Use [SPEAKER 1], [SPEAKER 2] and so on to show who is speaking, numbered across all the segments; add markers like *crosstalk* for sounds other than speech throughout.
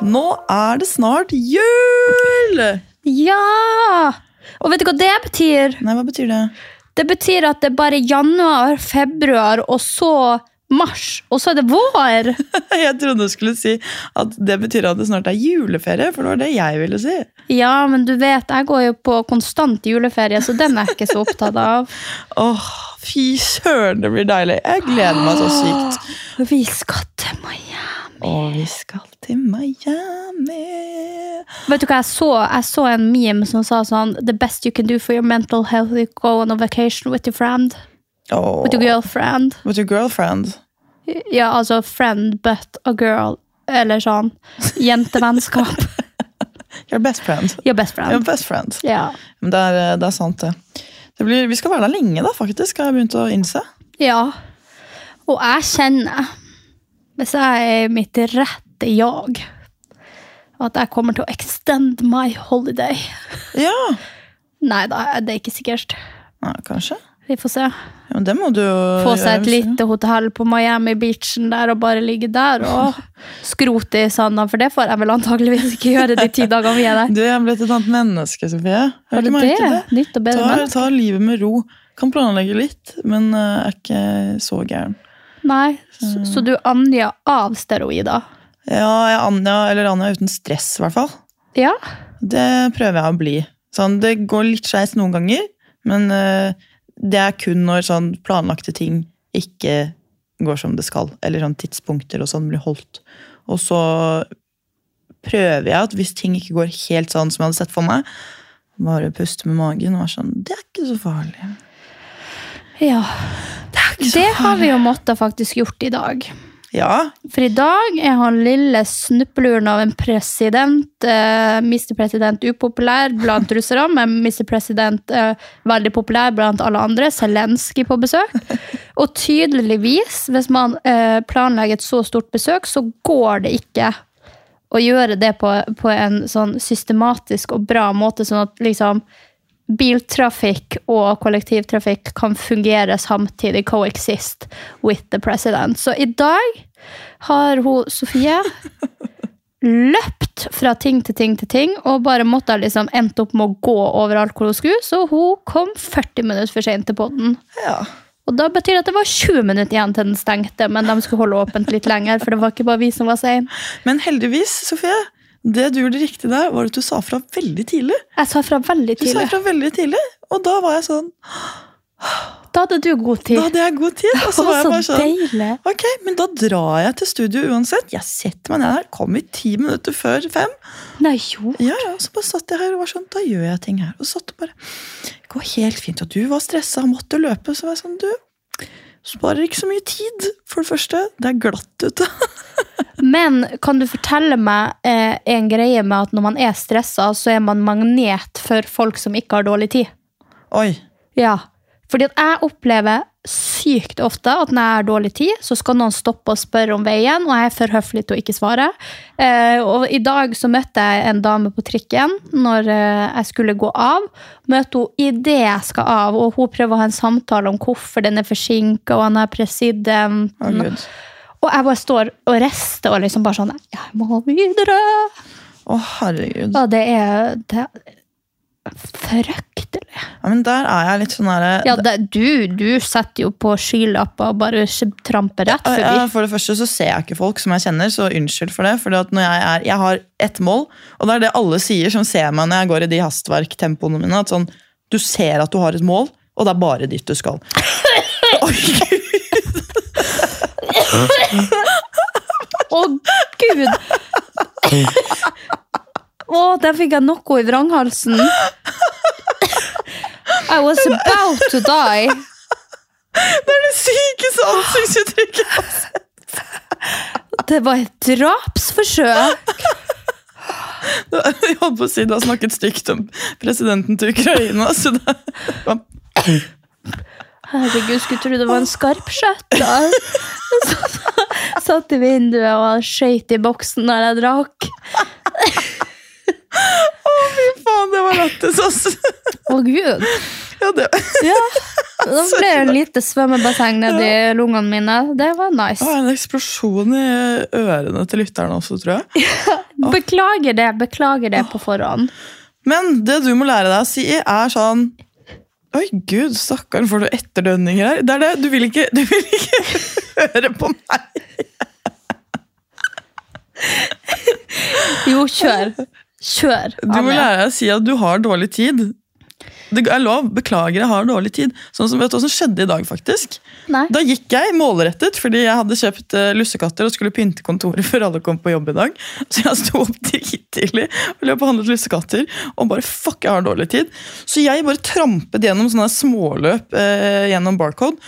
[SPEAKER 1] Nå er det snart jul!
[SPEAKER 2] Ja! Og vet du hva det betyr?
[SPEAKER 1] Nei, hva betyr det?
[SPEAKER 2] Det betyr at det er bare januar, februar og så mars, og så er det *laughs* vår!
[SPEAKER 1] Jeg trodde du skulle si at det betyr at det snart er juleferie, for det var det jeg ville si.
[SPEAKER 2] Ja, men du vet, jeg går jo på konstant juleferie, så den er jeg ikke så opptatt av.
[SPEAKER 1] Åh, fy søren, det blir deilig. Jeg gleder meg så sykt.
[SPEAKER 2] Vi skal til Miami.
[SPEAKER 1] Og vi skal til Miami.
[SPEAKER 2] Vet du hva jeg så? Jeg så en meme som sa sånn The best you can do for your mental health is go on a vacation with your friend.
[SPEAKER 1] Åh.
[SPEAKER 2] With your girlfriend.
[SPEAKER 1] With your girlfriend.
[SPEAKER 2] Ja, altså friend but a girl. Eller *laughs* sånn. Jentevennskap.
[SPEAKER 1] Your best friend.
[SPEAKER 2] Your best
[SPEAKER 1] Your
[SPEAKER 2] friend.
[SPEAKER 1] best friend.
[SPEAKER 2] Ja.
[SPEAKER 1] Men det er, eh, det er sant, det. det blir, vi skal være der lenge, da, faktisk, har jeg begynt å innse.
[SPEAKER 2] Ja. Og jeg kjenner, hvis jeg er mitt rette jag, at jeg kommer til å extend my holiday. *laughs*
[SPEAKER 1] Ja.
[SPEAKER 2] Nei da, det er ikke sikkert.
[SPEAKER 1] ja kanskje.
[SPEAKER 2] Vi får se.
[SPEAKER 1] Ja, men det må du jo
[SPEAKER 2] Få seg
[SPEAKER 1] gjøre,
[SPEAKER 2] et
[SPEAKER 1] hvis du-
[SPEAKER 2] lite hotell på Miami Beachen der og bare ligge
[SPEAKER 1] *laughs*
[SPEAKER 2] der og skrote i sanda, for det får jeg vel antageligvis ikke gjøre de ti dagene vi er der.
[SPEAKER 1] Du er blitt et annet menneske, Sofie. *laughs* Har
[SPEAKER 2] Er
[SPEAKER 1] du ikke
[SPEAKER 2] det
[SPEAKER 1] merket
[SPEAKER 2] det?
[SPEAKER 1] det?
[SPEAKER 2] Nytt og bedre
[SPEAKER 1] Ta,
[SPEAKER 2] menneske?
[SPEAKER 1] ta livet med ro. Kan planlegge litt, men eh, er ikke så gæren.
[SPEAKER 2] Nei, så, så du Anja av steroider?
[SPEAKER 1] Ja, jeg er Anja, eller Anja uten stress, i hvert fall.
[SPEAKER 2] Ja.
[SPEAKER 1] Det prøver jeg å bli. Sånn, det går litt skeis noen ganger, men eh, det er kun når sånn planlagte ting ikke går som det skal, eller sånn tidspunkter og sånn blir holdt. Og så prøver jeg at hvis ting ikke går helt sånn som jeg hadde sett for meg, bare puste med magen og være sånn Det er ikke så farlig.
[SPEAKER 2] ja.
[SPEAKER 1] Det er ikke så
[SPEAKER 2] Det har
[SPEAKER 1] farlig.
[SPEAKER 2] vi jo måttet faktisk gjort i dag.
[SPEAKER 1] Ja,
[SPEAKER 2] For i dag er han lille snuppeluren av en president, eh, Mr. President upopulær blant russere, men Mr. President eh, veldig populær blant alle andre, Zelenskyj på besøk. Og tydeligvis, hvis man eh, planlegger et så stort besøk, så går det ikke å gjøre det på, på en sånn systematisk og bra måte, sånn at liksom biltrafikk og kollektivtrafikk kan fungere samtidig, coexist with the president. Så i dag har hun, Sofie, løpt fra ting til ting til ting, og bare måtte liksom endt opp med å gå overalt hvor hun skulle, så hun kom 40 minutter for sent til podden.
[SPEAKER 1] Ja.
[SPEAKER 2] Og da betyr det at det var 20 minutter igjen til den stengte, men de skulle holde åpent litt lenger, for det var ikke bare vi som var sein.
[SPEAKER 1] Men heldigvis, Sofie, det du gjorde riktig der, var at du sa fra veldig tidlig.
[SPEAKER 2] Jeg sa fra veldig
[SPEAKER 1] Du sa
[SPEAKER 2] tidlig.
[SPEAKER 1] fra veldig tidlig, og da var jeg sånn
[SPEAKER 2] Da hadde du god
[SPEAKER 1] Da
[SPEAKER 2] tid.
[SPEAKER 1] hadde jeg god tid. Og
[SPEAKER 2] *laughs* Det
[SPEAKER 1] så var jeg
[SPEAKER 2] var
[SPEAKER 1] bare
[SPEAKER 2] så
[SPEAKER 1] sånn
[SPEAKER 2] deilig.
[SPEAKER 1] Ok, men da drar jeg til studio uansett. Jeg setter meg ned her, kommer ti minutter før fem.
[SPEAKER 2] Nei, jo.
[SPEAKER 1] Ja, ja, og Så bare satt jeg her og var sånn, da gjør jeg ting her. Og satt og bare Det går helt fint. Og du var stressa og måtte løpe. Så var jeg sånn, du sparer ikke så mye tid, for det første. Det er glatt ute. *laughs*
[SPEAKER 2] Men kan du fortelle meg eh, en greie med at når man er stressa, så er man magnet for folk som ikke har dårlig tid?
[SPEAKER 1] Oi.
[SPEAKER 2] Ja. Fordi at jeg opplever sykt ofte at når jeg har dårlig tid, så skal noen stoppe og spørre om veien, og jeg er for høflig til å ikke svare. Eh, og i dag så møtte jeg en dame på trikken når eh, jeg skulle gå av. Møtte hun idet jeg skal av, og hun prøver å ha en samtale om hvorfor den er forsinka, og han er
[SPEAKER 1] Å,
[SPEAKER 2] presidenten.
[SPEAKER 1] Gud.
[SPEAKER 2] Og jeg bare står og rister og liksom bare sånn Jeg må videre!
[SPEAKER 1] Å, herregud.
[SPEAKER 2] Og det er, det er fryktelig fryktelig.
[SPEAKER 1] Ja, men der er jeg litt sånn herre
[SPEAKER 2] Ja, det, du, du setter jo på skylapper og bare sk- tramper rett
[SPEAKER 1] Ja, ja,
[SPEAKER 2] forbi.
[SPEAKER 1] for det første så ser jeg ikke folk som jeg kjenner, så unnskyld for det. For at når jeg, er, jeg har ett mål, og det er det alle sier som ser meg når jeg går i de hastverktempoene mine. At sånn, du ser at du har et mål, og det er bare dit du skal. Oi, Gud.
[SPEAKER 2] Å, gud! Å, der fikk jeg noe i vranghalsen. I was about to die.
[SPEAKER 1] det er det sykeste ansiktsuttrykket jeg har sett.
[SPEAKER 2] Det var et drapsforsøk.
[SPEAKER 1] Jeg holdt på å si du har snakket stygt om presidenten til Ukraina. Så det,
[SPEAKER 2] Herregud, skulle tro det var en skarpskjøtter. Satt i vinduet og skøyt i boksen når jeg drakk.
[SPEAKER 1] faen, det var lættis, ass.
[SPEAKER 2] Å, gud.
[SPEAKER 1] Ja, det,
[SPEAKER 2] Ja. Da ble det lite svømmebasseng nedi lungene mine. Det var
[SPEAKER 1] det
[SPEAKER 2] nice.
[SPEAKER 1] var en eksplosjon i ørene til lytterne også, tror jeg.
[SPEAKER 2] Beklager det, beklager det på forhånd.
[SPEAKER 1] Men det du må lære deg å si, er sånn Oi, gud, stakkaren, får du etterdønninger her? Det er det. Du vil ikke, du vil ikke *laughs* høre på meg.
[SPEAKER 2] Jo, kjør. Kjør.
[SPEAKER 1] Du må
[SPEAKER 2] Anja.
[SPEAKER 1] lære deg å si at du har dårlig tid. Det er lov. Beklager, jeg har dårlig tid. Sånn som, Vet du hva som skjedde i dag, faktisk?
[SPEAKER 2] Nei.
[SPEAKER 1] Da gikk jeg målrettet, fordi jeg hadde kjøpt eh, lussekatter og skulle pynte kontoret før alle kom på jobb i dag. *laughs* Så jeg sto opp drittidlig og løp og handlet lussekatter. Og bare fuck, jeg har dårlig tid. Så jeg bare trampet gjennom sånne småløp eh, gjennom barcode.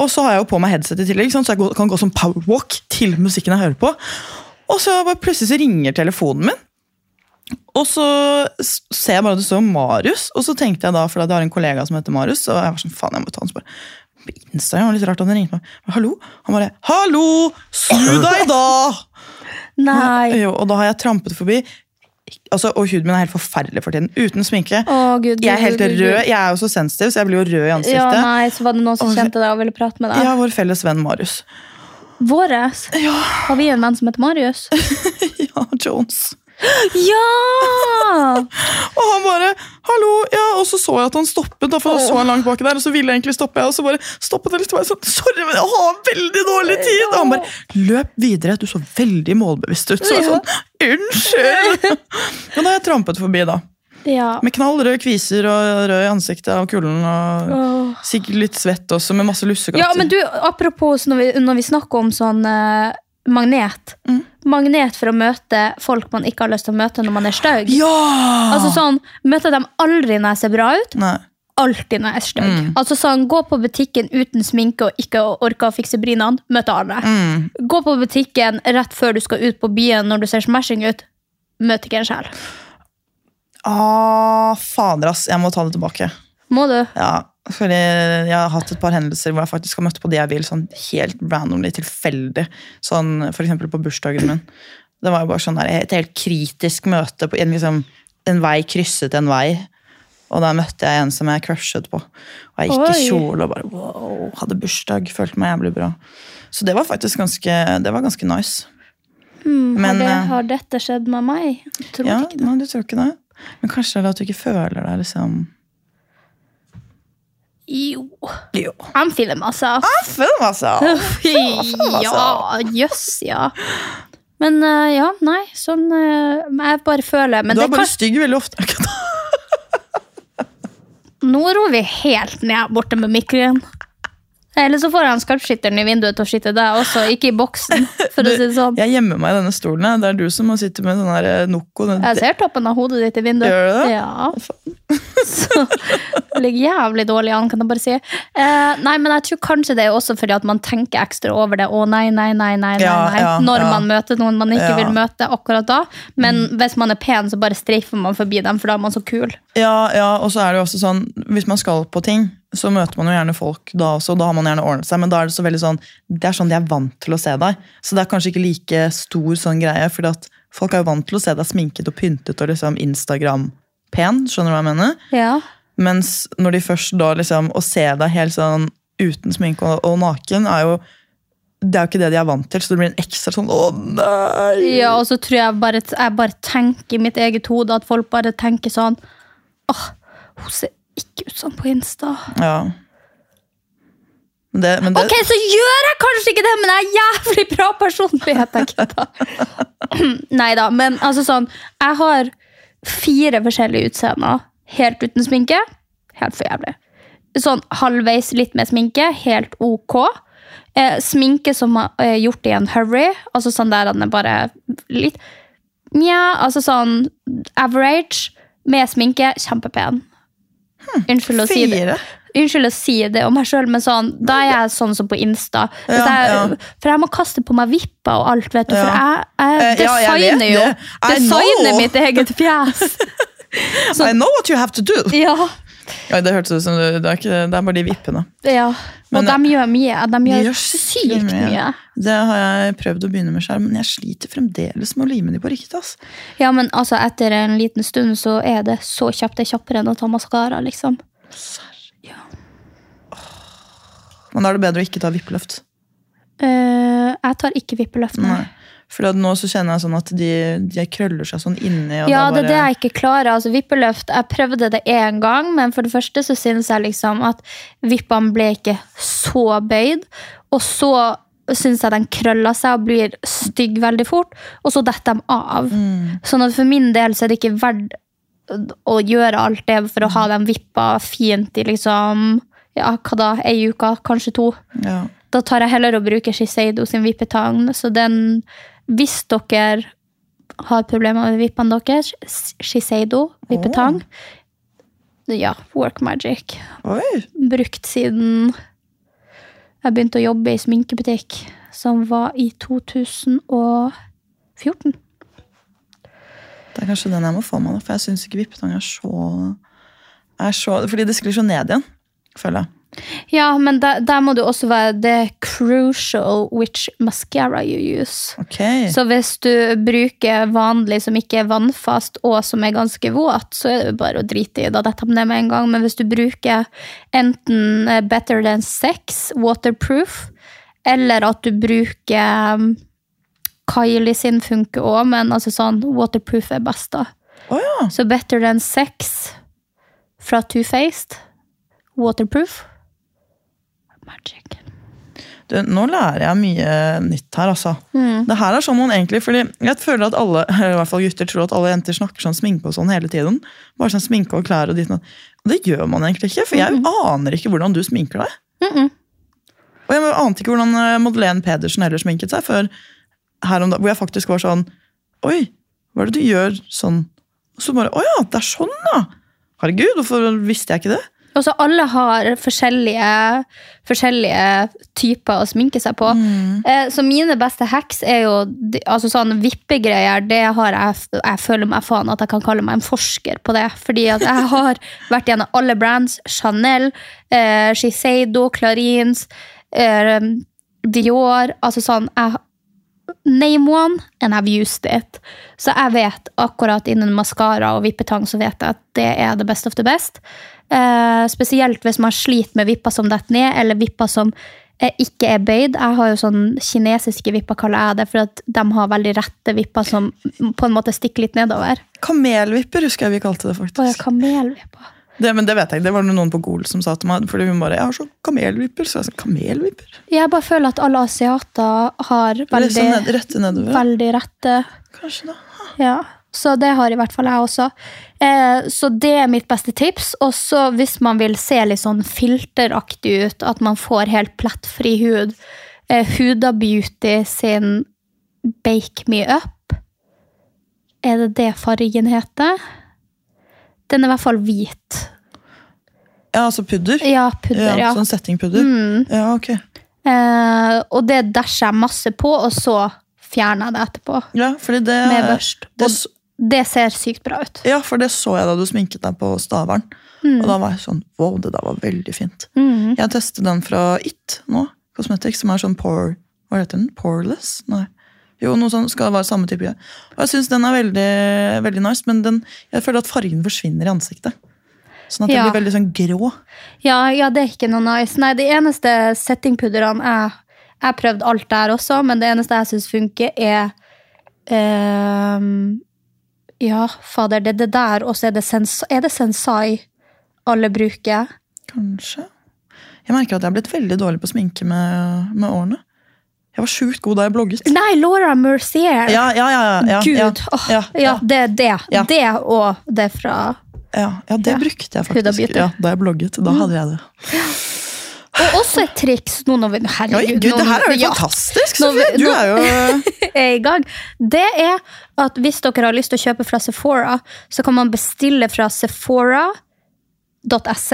[SPEAKER 1] Og så har jeg jo på meg headset i tillegg, ikke sant? så jeg gå- kan gå som powerwalk til musikken jeg hører på. Og så bare plutselig så ringer telefonen min. Og så s- ser jeg bare at det står Marius, og så tenkte jeg da, for jeg har en kollega som heter Marius, og jeg var sånn, faen, jeg må ta han så bare, på Instagram, det var litt rart at han ringte meg. Men Hallo? Han bare, hallo, snu deg da!
[SPEAKER 2] Nei.
[SPEAKER 1] Jo, og da har jeg trampet forbi, altså, og huden min er helt forferdelig for tiden, uten sminke.
[SPEAKER 2] Å, gud. gud,
[SPEAKER 1] Jeg er helt
[SPEAKER 2] gud,
[SPEAKER 1] rød,
[SPEAKER 2] gud, gud.
[SPEAKER 1] jeg er jo så sensitiv, så jeg blir jo rød i
[SPEAKER 2] Ja,
[SPEAKER 1] ansiktet.
[SPEAKER 2] nei, så var det noen som
[SPEAKER 1] Å,
[SPEAKER 2] kjente deg og ville prate med deg.
[SPEAKER 1] Ja, vår felles venn Marius. *laughs*
[SPEAKER 2] Våres? Har vi en venn som heter
[SPEAKER 1] *laughs*
[SPEAKER 2] Marius?
[SPEAKER 1] Ja, Jones.
[SPEAKER 2] Ja!
[SPEAKER 1] Og han bare 'hallo', ja, og så så jeg at han stoppet. Da, for da så han langt baki der, og så ville jeg egentlig stoppe, jeg, og så bare stoppet jeg litt. og var jeg sånn, 'Sorry, men jeg har veldig dårlig tid'. Og han bare 'løp videre', du så veldig målbevisst ut. Så jeg sånn
[SPEAKER 2] *laughs*
[SPEAKER 1] 'unnskyld'. Men da har jeg trampet forbi, da.
[SPEAKER 2] ja.
[SPEAKER 1] Med knallrøde kviser og rød i ansiktet av kulden. Og
[SPEAKER 2] Åh.
[SPEAKER 1] sikkert litt svett også, med masse lussekatter.
[SPEAKER 2] ja, men du, apropos når vi, når vi snakker om sånn eh, magnet.
[SPEAKER 1] Mm.
[SPEAKER 2] Magnet for å møte folk man ikke har lyst til å møte når man er stygg.
[SPEAKER 1] Ja!
[SPEAKER 2] Altså sånn, Møter dem aldri når jeg ser bra ut,
[SPEAKER 1] Nei.
[SPEAKER 2] alltid når jeg er stygg.
[SPEAKER 1] Mm.
[SPEAKER 2] Altså sånn, Gå på butikken uten sminke og ikke orker å fikse brynene, møter alle.
[SPEAKER 1] Mm.
[SPEAKER 2] Gå på butikken rett før du skal ut på byen når du ser smashing ut, møter ikke en sjel.
[SPEAKER 1] Ah, fader, ass. Jeg må ta det tilbake.
[SPEAKER 2] Må du?
[SPEAKER 1] Ja, fordi jeg har hatt et par hendelser hvor jeg faktisk har møtt på de jeg vil, sånn helt randomly, tilfeldig. Sånn, for eksempel på bursdagen min. Det var jo bare sånn der, et helt kritisk møte. På, en, liksom, en vei krysset en vei. Og der møtte jeg en som jeg crushet på. Og jeg gikk i
[SPEAKER 2] Oi.
[SPEAKER 1] kjole og bare wow, hadde bursdag. Følte meg jævlig bra. Så det var faktisk ganske, det var ganske nice.
[SPEAKER 2] Mm, Har,
[SPEAKER 1] Men,
[SPEAKER 2] det,
[SPEAKER 1] eh,
[SPEAKER 2] har dette skjedd med meg? Jeg Tror
[SPEAKER 1] ja,
[SPEAKER 2] ikke det.
[SPEAKER 1] nei, du tror ikke det? Men kanskje det er det at du ikke føler deg liksom
[SPEAKER 2] Jo.
[SPEAKER 1] Jo.
[SPEAKER 2] I'm feeling myself.
[SPEAKER 1] Film, altså!
[SPEAKER 2] Fy, ja, jøss, ja. Men eh, ja, nei, sånn eh, men Jeg bare føler *laughs* Men
[SPEAKER 1] Du
[SPEAKER 2] det
[SPEAKER 1] er bare
[SPEAKER 2] kan,
[SPEAKER 1] stygg veldig ofte.
[SPEAKER 2] nå ror vi helt ned borte med mikroen. Eller så får han skarpskytteren i vinduet til å skyte deg også, ikke i boksen. For å si det sånn.
[SPEAKER 1] *laughs* Jeg gjemmer meg i denne stolen. her. Det er du som må sitte med sånn her eh, Noco. Den-
[SPEAKER 2] Jeg ser toppen av hodet ditt i vinduet.
[SPEAKER 1] Gjør du det?
[SPEAKER 2] Ja. *laughs* Så det ligger jævlig dårlig an, kan jeg bare si. Eh, nei, men jeg tror kanskje det er også fordi at man tenker ekstra over det. Å nei, nei, nei, nei, nei,
[SPEAKER 1] Ja,
[SPEAKER 2] nei.
[SPEAKER 1] ja,
[SPEAKER 2] Når
[SPEAKER 1] ja.
[SPEAKER 2] man møter noen man ikke
[SPEAKER 1] Ja. Mm.
[SPEAKER 2] vil møte akkurat da. Men hvis man er pen, så bare streifer man forbi dem, for da er man så kul.
[SPEAKER 1] Ja, ja, og så er det jo også sånn, Hvis man skal på ting, så møter man jo gjerne folk da også. og Da har man gjerne ordnet seg, men da er det så veldig sånn, det er sånn de er vant til å se deg. Så det er kanskje ikke like stor sånn greie, fordi at folk er jo vant til å se deg sminket og pyntet og liksom Instagram-pen. skjønner du hva jeg mener?
[SPEAKER 2] Ja.
[SPEAKER 1] Mens når de først da liksom, å se deg helt sånn uten sminke og, og naken, er jo det er jo ikke det de er vant til, så det blir en ekstra sånn å nei!
[SPEAKER 2] ja, og så tror jeg bare, jeg bare tenker i mitt eget hode at folk bare tenker sånn Åh, hun ser ikke ut sånn på Insta.
[SPEAKER 1] Ja. Men det, men det,
[SPEAKER 2] Ok, så gjør jeg kanskje ikke det, men jeg er jævlig bra personlighet, jeg, gutta. *clears throat* Neida, men altså sånn, jeg har fire forskjellige utseender. Helt uten sminke, helt for jævlig. Sånn halvveis litt med sminke, helt ok. Eh, sminke som er gjort i en hurry, altså sånn der den er bare litt... Nja, altså sånn average, med sminke, kjempepen. Unnskyld å si det.
[SPEAKER 1] Hm, Fire?
[SPEAKER 2] Unnskyld å si det om meg sjøl, men sånn, da er jeg sånn som på Insta. Hvis
[SPEAKER 1] Ja,
[SPEAKER 2] jeg,
[SPEAKER 1] ja.
[SPEAKER 2] For jeg må kaste på meg vipper og alt, vet du. For
[SPEAKER 1] Ja.
[SPEAKER 2] jeg, jeg
[SPEAKER 1] Eh, ja, jeg vet
[SPEAKER 2] designer jo
[SPEAKER 1] det. I
[SPEAKER 2] Designer
[SPEAKER 1] know.
[SPEAKER 2] mitt eget fjes.
[SPEAKER 1] *laughs* I know what you have to do!
[SPEAKER 2] Ja,
[SPEAKER 1] Ja, det hørtes ut som du- det er, ikke, det er bare de vippene.
[SPEAKER 2] ja. Og
[SPEAKER 1] Men- eh,
[SPEAKER 2] de gjør mye. De gjør,
[SPEAKER 1] skikkelig
[SPEAKER 2] sykt mye.
[SPEAKER 1] Det har jeg prøvd å begynne med selv, men jeg sliter fremdeles med å lime de på riktig. ass.
[SPEAKER 2] Ja, men altså, etter en liten stund så er det så kjapt. Det er kjappere enn å ta maskara, liksom.
[SPEAKER 1] Men da er det bedre å ikke ta vippeløft.
[SPEAKER 2] Eh, jeg tar ikke vippeløft, nei.
[SPEAKER 1] Nei. For at nå så kjenner jeg sånn at de, de krøller seg sånn inni. Og
[SPEAKER 2] Ja,
[SPEAKER 1] da bare,
[SPEAKER 2] det er det jeg ikke klarer. Altså, vippeløft, jeg prøvde det én gang, men for det første så syns jeg liksom at vippene ble ikke så bøyd. Og så syns jeg den krøller seg og blir stygg veldig fort, og så detter de av.
[SPEAKER 1] Mm.
[SPEAKER 2] Sånn at for min del så er det ikke verdt å gjøre alt det for å ha den vippa fint i liksom ja, hva da, ei uke, kanskje to.
[SPEAKER 1] Ja.
[SPEAKER 2] Da tar jeg heller å bruke Shiseido sin vippetang. Så den, hvis dere har problemer med vippene deres, Sh- Shiseido vippetang Ja, work magic.
[SPEAKER 1] Oi,
[SPEAKER 2] Brukt siden jeg begynte å jobbe i sminkebutikk, som var i 2014.
[SPEAKER 1] det er kanskje den jeg må få meg, da, for jeg syns ikke vippetang er så, er så Fordi det sklir så ned igjen, føler jeg.
[SPEAKER 2] Ja, men der, der må du også være Det er crucial which mascara you use.
[SPEAKER 1] Ok,
[SPEAKER 2] Så hvis du bruker vanlig som ikke er vannfast, og som er ganske våt, så er det jo bare å drite i. Da detter den ned med en gang. Men hvis du bruker enten eh, Better Than Sex, waterproof, eller at du bruker um, Kylie sin funker òg, men altså sånn waterproof er best, da.
[SPEAKER 1] Å ja.
[SPEAKER 2] Så Better Than Sex fra Too Faced, waterproof, magic.
[SPEAKER 1] Du, nå lærer jeg mye nytt her, altså.
[SPEAKER 2] Mm.
[SPEAKER 1] Det her er sånn man egentlig Fordi jeg føler at alle, *laughs* i hvert fall gutter, tror at alle jenter snakker sånn sminke og sånn hele tiden. Bare sånn sminke og klær og dit og datt. Og det gjør man egentlig ikke, for jeg aner ikke hvordan du sminker deg. Og jeg ante ikke hvordan eh, Madeleine Pedersen heller sminket seg før her om dagen, hvor jeg faktisk var sånn Oi, hva er det du gjør sånn? Og så bare Å ja, det er sånn, ja! Herregud, hvorfor visste jeg ikke det?
[SPEAKER 2] Og så alle har forskjellige, forskjellige typer å sminke seg på. Eh, Så mine beste hacks er jo de- altså sånn vippegreier. Det har jeg, jeg føler meg faen at jeg kan kalle meg en forsker på det. Fordi at jeg har vært gjennom alle brands. Chanel, eh, Shiseido, Clarins, eh, Dior. Altså sånn jeg, Name one, and I've used it. Så jeg vet akkurat innen maskara og vippetang så vet jeg at det er the best of the best. Eh, spesielt hvis man sliter med vipper som detter ned, eller vipper som eh, ikke er bøyd. Jeg har jo sånn kinesiske vipper, kaller jeg det, for at de har veldig rette vipper som på en måte stikker litt nedover.
[SPEAKER 1] Kamelvipper husker jeg vi kalte det, faktisk.
[SPEAKER 2] Å, ja, kamelvipper.
[SPEAKER 1] Det, men det vet jeg ikke. Det var det noen på Gol som sa til meg. Fordi hun bare 'Jeg har så kamelvipper'. Så jeg sa 'kamelvipper'?
[SPEAKER 2] Jeg bare føler at alle asiater har
[SPEAKER 1] Veldig,
[SPEAKER 2] veldig,
[SPEAKER 1] ned, sånn rette nedover.
[SPEAKER 2] veldig rette
[SPEAKER 1] Kanskje da.
[SPEAKER 2] Ja, så det har i hvert fall jeg også. Eh, så det er mitt beste tips. Og så hvis man vil se litt sånn filteraktig ut, at man får helt plettfri hud, eh, Huda Beauty sin Bake Me Up, er det det fargen heter? Den er i hvert fall hvit.
[SPEAKER 1] Ja, altså pudder.
[SPEAKER 2] Ja, pudder, ja. Mm.
[SPEAKER 1] Sånn settingpudder. Ja, ok.
[SPEAKER 2] Eh, og det dæsjer jeg masse på, og så fjerner jeg det etterpå.
[SPEAKER 1] Ja, fordi det,
[SPEAKER 2] Med børst.
[SPEAKER 1] det
[SPEAKER 2] Og
[SPEAKER 1] s-
[SPEAKER 2] det ser sykt bra ut.
[SPEAKER 1] ja, for det så jeg da du sminket deg på Stavern.
[SPEAKER 2] Mm.
[SPEAKER 1] Og da var jeg sånn Wow, det der var veldig fint. Jeg testet den fra It nå, Cosmetics, som er sånn pore Hva heter den? Poreless? Nei. Jo, noe sånn skal være samme type. Og jeg syns den er veldig, veldig nice, men den, jeg føler at fargen forsvinner i ansiktet. Sånn at det
[SPEAKER 2] Ja.
[SPEAKER 1] blir veldig sånn grå.
[SPEAKER 2] Ja, ja, det er ikke noe nice. Nei, de eneste settingpudderne jeg Jeg har prøvd alt der også, men det eneste jeg syns funker, er ehm, Ja, fader, det er det der, og så er det, sens, er det Sensai. alle bruker.
[SPEAKER 1] Kanskje. Jeg merker at jeg har blitt veldig dårlig på sminke med, med årene. Jeg var sjukt god da jeg blogget.
[SPEAKER 2] Nei, Laura Mercier!
[SPEAKER 1] Ja, ja, ja. ja,
[SPEAKER 2] Gud!
[SPEAKER 1] ja,
[SPEAKER 2] åh,
[SPEAKER 1] ja,
[SPEAKER 2] ja,
[SPEAKER 1] ja,
[SPEAKER 2] det det.
[SPEAKER 1] Ja.
[SPEAKER 2] Det og det fra
[SPEAKER 1] ja, ja, det
[SPEAKER 2] Ja.
[SPEAKER 1] brukte jeg
[SPEAKER 2] Huda
[SPEAKER 1] faktisk
[SPEAKER 2] Beauty.
[SPEAKER 1] ja, da jeg blogget. Da hadde jeg det.
[SPEAKER 2] Og også et triks nå når vi
[SPEAKER 1] Oi,
[SPEAKER 2] Herregud,
[SPEAKER 1] Gud,
[SPEAKER 2] nå-
[SPEAKER 1] det her er jo
[SPEAKER 2] ja,
[SPEAKER 1] fantastisk!
[SPEAKER 2] Nå-
[SPEAKER 1] Sofie. Du
[SPEAKER 2] nå-
[SPEAKER 1] er jo
[SPEAKER 2] er i gang. Det er at hvis dere har lyst til å kjøpe fra Sephora, så kan man bestille fra sephora.se,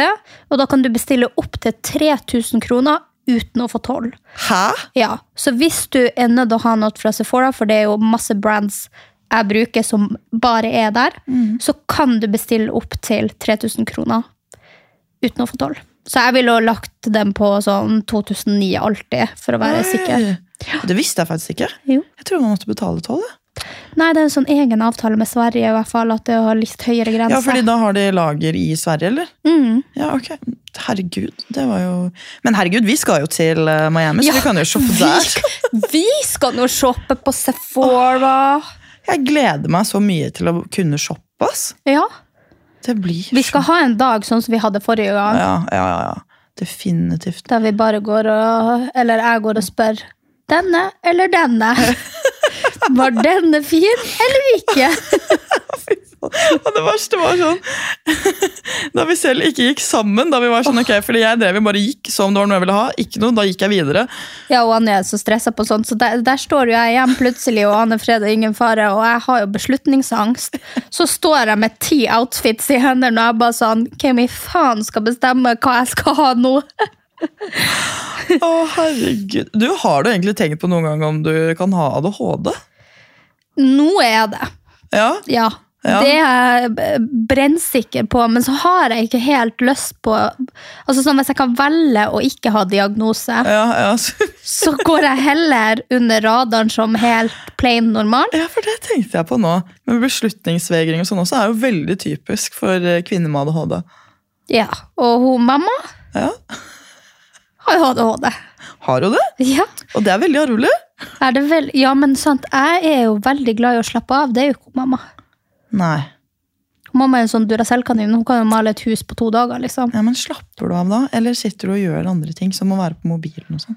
[SPEAKER 2] E, og da kan du bestille opp til 3000 kroner uten å få toll.
[SPEAKER 1] Hæ?
[SPEAKER 2] Ja, så hvis du er nødt til å ha noe fra Sephora, for det er jo masse brands jeg bruker som bare er der, så kan du bestille opp til 3000 kroner uten å få toll. Så jeg ville ha lagt den på sånn 2009 alltid, for å være sikker.
[SPEAKER 1] Oi. Det visste jeg faktisk ikke.
[SPEAKER 2] Jo.
[SPEAKER 1] Jeg tror man måtte betale toll. jeg.
[SPEAKER 2] Nei, det er en sånn egen avtale med Sverige, i hvert fall, at det har litt høyere grense.
[SPEAKER 1] Ja, fordi da har de lager i Sverige, eller?
[SPEAKER 2] mm.
[SPEAKER 1] Ja, ok. Herregud, det var jo Men herregud, vi skal jo til eh, Miami, så
[SPEAKER 2] Ja,
[SPEAKER 1] vi kan jo shoppe
[SPEAKER 2] vi
[SPEAKER 1] der.
[SPEAKER 2] skal- Vi skal nå shoppe på Sephora.
[SPEAKER 1] Jeg gleder meg så mye til å kunne shoppe, ass.
[SPEAKER 2] Ja,
[SPEAKER 1] Det blir
[SPEAKER 2] vi skal ha en dag sånn som vi hadde forrige gang.
[SPEAKER 1] så- ja, ja, ja, ja.
[SPEAKER 2] *laughs*
[SPEAKER 1] Definitivt.
[SPEAKER 2] Der vi bare går og Eller jeg går og spør denne eller denne.
[SPEAKER 1] *laughs*
[SPEAKER 2] Var denne fin eller ikke?
[SPEAKER 1] Og det verste var sånn *laughs* Da vi selv ikke gikk sammen, da vi var sånn, ok, fordi jeg drev jo bare gikk som det var noe jeg ville ha. Ikke noe, da gikk jeg videre.
[SPEAKER 2] Ja, og Anne er så stressa på sånt, så der, der står jo jeg igjen plutselig, og Anne Fred og ingen fare, og jeg har jo beslutningsangst. Så står jeg med ti outfits i hendene, og jeg bare sånn Hvem i faen skal bestemme hva jeg skal ha nå?
[SPEAKER 1] Å, herregud. Du, har du egentlig tenkt på noen gang om du kan ha ADHD?
[SPEAKER 2] Nå er det.
[SPEAKER 1] Ja?
[SPEAKER 2] Ja.
[SPEAKER 1] Ja.
[SPEAKER 2] Det er jeg b- brennsikker på, men så har jeg ikke helt lyst på Altså sånn Hvis jeg kan velge å ikke ha diagnose,
[SPEAKER 1] Ja, ja. *laughs* så-
[SPEAKER 2] så går jeg heller under radaren som helt plain normal.
[SPEAKER 1] ja, for det tenkte jeg på nå. Men beslutningsvegring og sånn også er jo veldig typisk for eh, kvinner med ADHD.
[SPEAKER 2] Ja, Og hun mamma
[SPEAKER 1] Ja,
[SPEAKER 2] har jo ADHD.
[SPEAKER 1] Har hun det?
[SPEAKER 2] Ja,
[SPEAKER 1] Og det er veldig arvelig.
[SPEAKER 2] er det vel? ja men sant, jeg er jo veldig glad i å slappe av. Det er jo ikke hun mamma.
[SPEAKER 1] Nei.
[SPEAKER 2] Hun Mamma er jo en sånn Duracell-kanin. Hun kan jo male et hus på to dager. liksom.
[SPEAKER 1] Ja, men Slapper du av da, eller sitter du og gjør andre ting, som å være på mobilen? og sånn?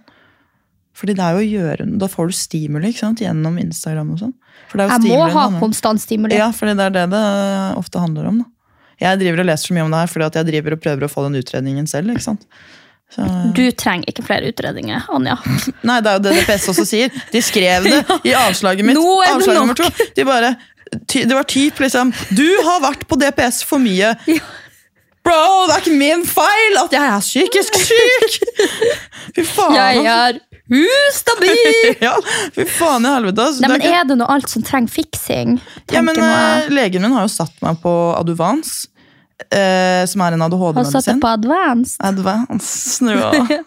[SPEAKER 1] Fordi det er jo å gjøre, Da får du stimuli ikke sant? gjennom Instagram og sånn. For det er jo
[SPEAKER 2] Jeg må
[SPEAKER 1] stimuli
[SPEAKER 2] ha
[SPEAKER 1] nå, men-
[SPEAKER 2] konstant stimuli.
[SPEAKER 1] Ja, fordi det er det det ofte handler om. da. Jeg driver og leser så mye om det her fordi at jeg driver og prøver å få den utredningen selv. ikke sant? Så,
[SPEAKER 2] Du trenger ikke flere utredninger, Anja.
[SPEAKER 1] nei, det er jo det DPS også sier. De skrev
[SPEAKER 2] *laughs*
[SPEAKER 1] det i avslaget mitt.
[SPEAKER 2] Nå er det
[SPEAKER 1] avslag nummer
[SPEAKER 2] nok.
[SPEAKER 1] to. De bare, ty, det var typ liksom Du har vært på DPS for mye. Bro, det er ikke min feil at jeg er psykisk syk! *laughs* Fy faen. altså.
[SPEAKER 2] Jeg er
[SPEAKER 1] *laughs*
[SPEAKER 2] ustabil!
[SPEAKER 1] Ja, fy faen i helvete. ass.
[SPEAKER 2] Nei,
[SPEAKER 1] Det er
[SPEAKER 2] men
[SPEAKER 1] ikke-
[SPEAKER 2] Er det noe alt som trenger fiksing?
[SPEAKER 1] Ja, men
[SPEAKER 2] tenker nå
[SPEAKER 1] eh,
[SPEAKER 2] jeg.
[SPEAKER 1] Legen min har jo satt meg på Aduvans, eh, som er en
[SPEAKER 2] Han satte
[SPEAKER 1] ADHD-medisin.
[SPEAKER 2] på advance.
[SPEAKER 1] Advance, nå,
[SPEAKER 2] *laughs*
[SPEAKER 1] ja.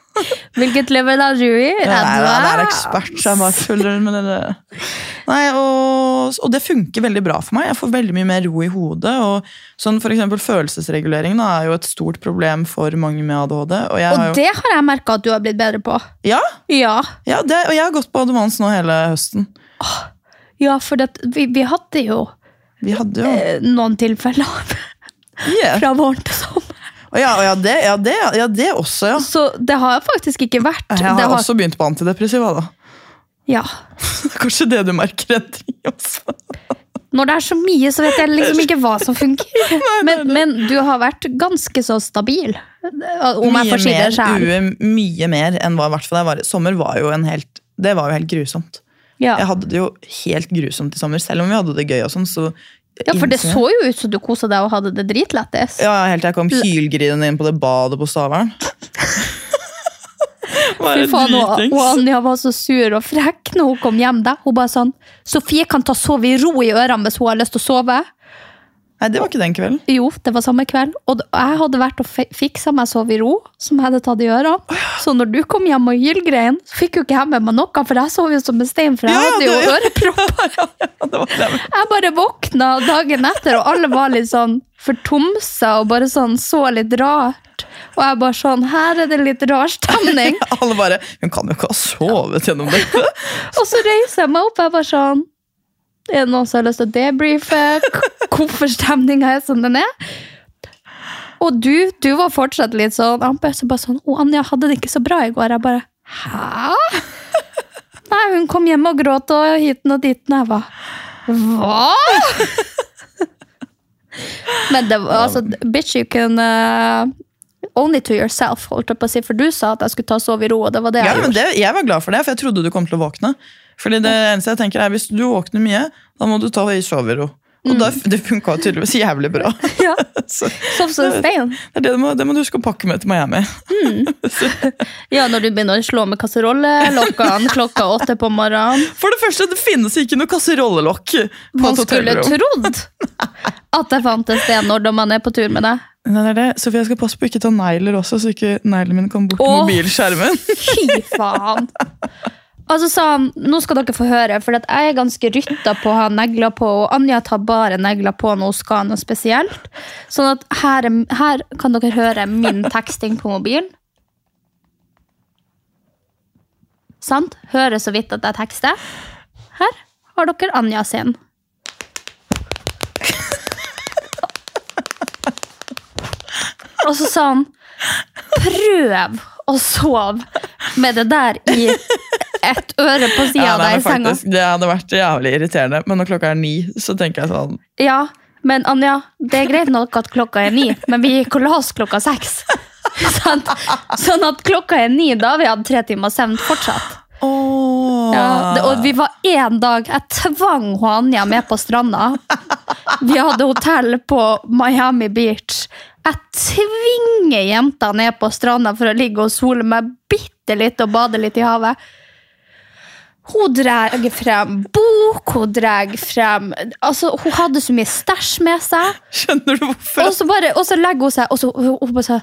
[SPEAKER 2] Hvilket leverandør er
[SPEAKER 1] Ja, det er, det er
[SPEAKER 2] advance?
[SPEAKER 1] ekspert, så jeg bare tuller med det. der. Nei, og, og det funker veldig bra for meg. Jeg får veldig mye mer ro i hodet. og sånn for eksempel Følelsesregulering da, er jo et stort problem for mange med ADHD. Og jeg har
[SPEAKER 2] Og
[SPEAKER 1] jo,
[SPEAKER 2] det har jeg merka at du har blitt bedre på.
[SPEAKER 1] ja,
[SPEAKER 2] Ja,
[SPEAKER 1] ja det, og jeg har gått på Advance nå hele høsten.
[SPEAKER 2] ja for det, vi, vi hadde jo
[SPEAKER 1] Vi hadde jo
[SPEAKER 2] eh, noen tilfeller *laughs*
[SPEAKER 1] yeah.
[SPEAKER 2] fra våren til sommer.
[SPEAKER 1] og ja, og ja, det, ja, det, ja, det også, ja.
[SPEAKER 2] Så det har faktisk ikke vært
[SPEAKER 1] Jeg har,
[SPEAKER 2] det har,
[SPEAKER 1] også begynt på antidepressiva, da. *laughs*
[SPEAKER 2] ja.
[SPEAKER 1] Kanskje det du merker endring også.
[SPEAKER 2] Når det er så mye, så vet jeg liksom ikke hva som
[SPEAKER 1] *laughs*
[SPEAKER 2] funker. Men, men du har vært ganske så stabil, eh, om jeg
[SPEAKER 1] mye,
[SPEAKER 2] får si det
[SPEAKER 1] mer,
[SPEAKER 2] sjøl.
[SPEAKER 1] ue- mye mer enn hva i hvert fall jeg var. Sommer var jo en helt Det var jo helt grusomt.
[SPEAKER 2] Ja.
[SPEAKER 1] Jeg hadde det jo helt grusomt i sommer, selv om vi hadde det gøy og sånn. Så
[SPEAKER 2] ja, for det
[SPEAKER 1] innså jeg-
[SPEAKER 2] så jo ut som du kosa deg og hadde det dritlættis.
[SPEAKER 1] Ja, helt til jeg kom hylgrinende inn på det badet på Stavern.
[SPEAKER 2] *laughs* Fy
[SPEAKER 1] Bare
[SPEAKER 2] faen, og, og
[SPEAKER 1] dritings.
[SPEAKER 2] Anja var så sur og frekk når hun kom hjem. Da. Hun bare sånn 'Sofie kan ta sove i ro i ørene hvis hun har lyst til å sove'.
[SPEAKER 1] Nei, det var ikke den kvelden.
[SPEAKER 2] Jo, det var samme kveld. Og d- jeg hadde vært og fi- fiksa meg sove i ro, som jeg hadde tatt i ørene. Så når du kom hjem og hylgrein, så fikk jo ikke jeg med meg noe, for jeg sov jo som en stein, for jeg
[SPEAKER 1] Ja, ja,
[SPEAKER 2] hadde jo
[SPEAKER 1] det-
[SPEAKER 2] ørepropper.
[SPEAKER 1] *laughs* Ja, det var det.
[SPEAKER 2] Jeg bare våkna dagen etter, og alle var litt sånn fortomsa og bare sånn så litt rart. Og jeg bare sånn Her er det litt rar stemning.
[SPEAKER 1] *laughs* Alle bare Hun kan jo ikke ha sovet gjennom dette!
[SPEAKER 2] *laughs* Og så reiser jeg meg opp, og jeg bare sånn Er det noen som har lyst til å debrife? K- Hvorfor stemninga er som den er? Og du, du var fortsatt litt sånn Han bare, så bare sånn Å, Anja, hadde det ikke så bra i går? Jeg bare Hæ? Nei, hun kom hjem og gråt og hiten og diten. Jeg bare Hva? Men det var altså Bitch, you can uh, Only to yourself, holdt jeg på å si. For du sa at jeg skulle ta og sove i ro, og det var det
[SPEAKER 1] Ja,
[SPEAKER 2] jeg
[SPEAKER 1] men
[SPEAKER 2] gjorde. *laughs*
[SPEAKER 1] det, jeg var glad for det, for jeg trodde du kom til å våkne. Fordi det eneste jeg tenker er, Hvis du våkner mye, da må du ta i sovero. Og
[SPEAKER 2] Mm.
[SPEAKER 1] da, det funka tydeligvis jævlig bra. *laughs*
[SPEAKER 2] Ja,
[SPEAKER 1] Så,
[SPEAKER 2] Sov som en stein.
[SPEAKER 1] det, er det, du må, det må du huske å pakke med til Miami.
[SPEAKER 2] Ja, når du begynner å slå med kasserollelokkene klokka åtte på morgenen.
[SPEAKER 1] For det første, det finnes ikke noe kasserollelokk på
[SPEAKER 2] Man
[SPEAKER 1] et
[SPEAKER 2] skulle
[SPEAKER 1] hotellrom.
[SPEAKER 2] trodd at det fantes det når man er på tur med deg.
[SPEAKER 1] Nei, det er det. Sofie, jeg skal passe på å ikke ta negler også, så ikke neglene mine kommer bort til
[SPEAKER 2] Åh.
[SPEAKER 1] mobilskjermen.
[SPEAKER 2] *laughs* Fy faen! Altså sa han, nå skal dere få høre, for at jeg er ganske rytta på å ha negler på, og Anja tar bare negler på når hun skal ha noe spesielt. Sånn at her, er- her kan dere høre min teksting på mobilen. Sant? Hører så vidt at jeg tekster. Her har dere Anja sin. Og så sa han prøv å sove med det der i ett øre på sida
[SPEAKER 1] Ja,
[SPEAKER 2] av
[SPEAKER 1] nei,
[SPEAKER 2] deg
[SPEAKER 1] men
[SPEAKER 2] i senga.
[SPEAKER 1] faktisk, det hadde vært jævlig irriterende, men når klokka er ni, så tenker jeg sånn
[SPEAKER 2] Ja, men Anja, det er greit nok at klokka er ni, men vi gikk og la oss klokka seks. *laughs* Sant? Sånn at klokka er ni, da har vi hatt tre timer søvn fortsatt.
[SPEAKER 1] Åh.
[SPEAKER 2] Ja, det, og vi var én dag Jeg tvang hun Anja med på stranda. Vi hadde hotell på Miami Beach. Jeg tvinger jenta ned på stranda for å ligge og sole meg bitte litt og bade litt i havet. Hun drar frem bok, hun drar frem Altså, hun hadde så mye stæsj med seg.
[SPEAKER 1] Skjønner du hvorfor?
[SPEAKER 2] Og så, bare, og så legger hun seg, og så, hun- hun bare så,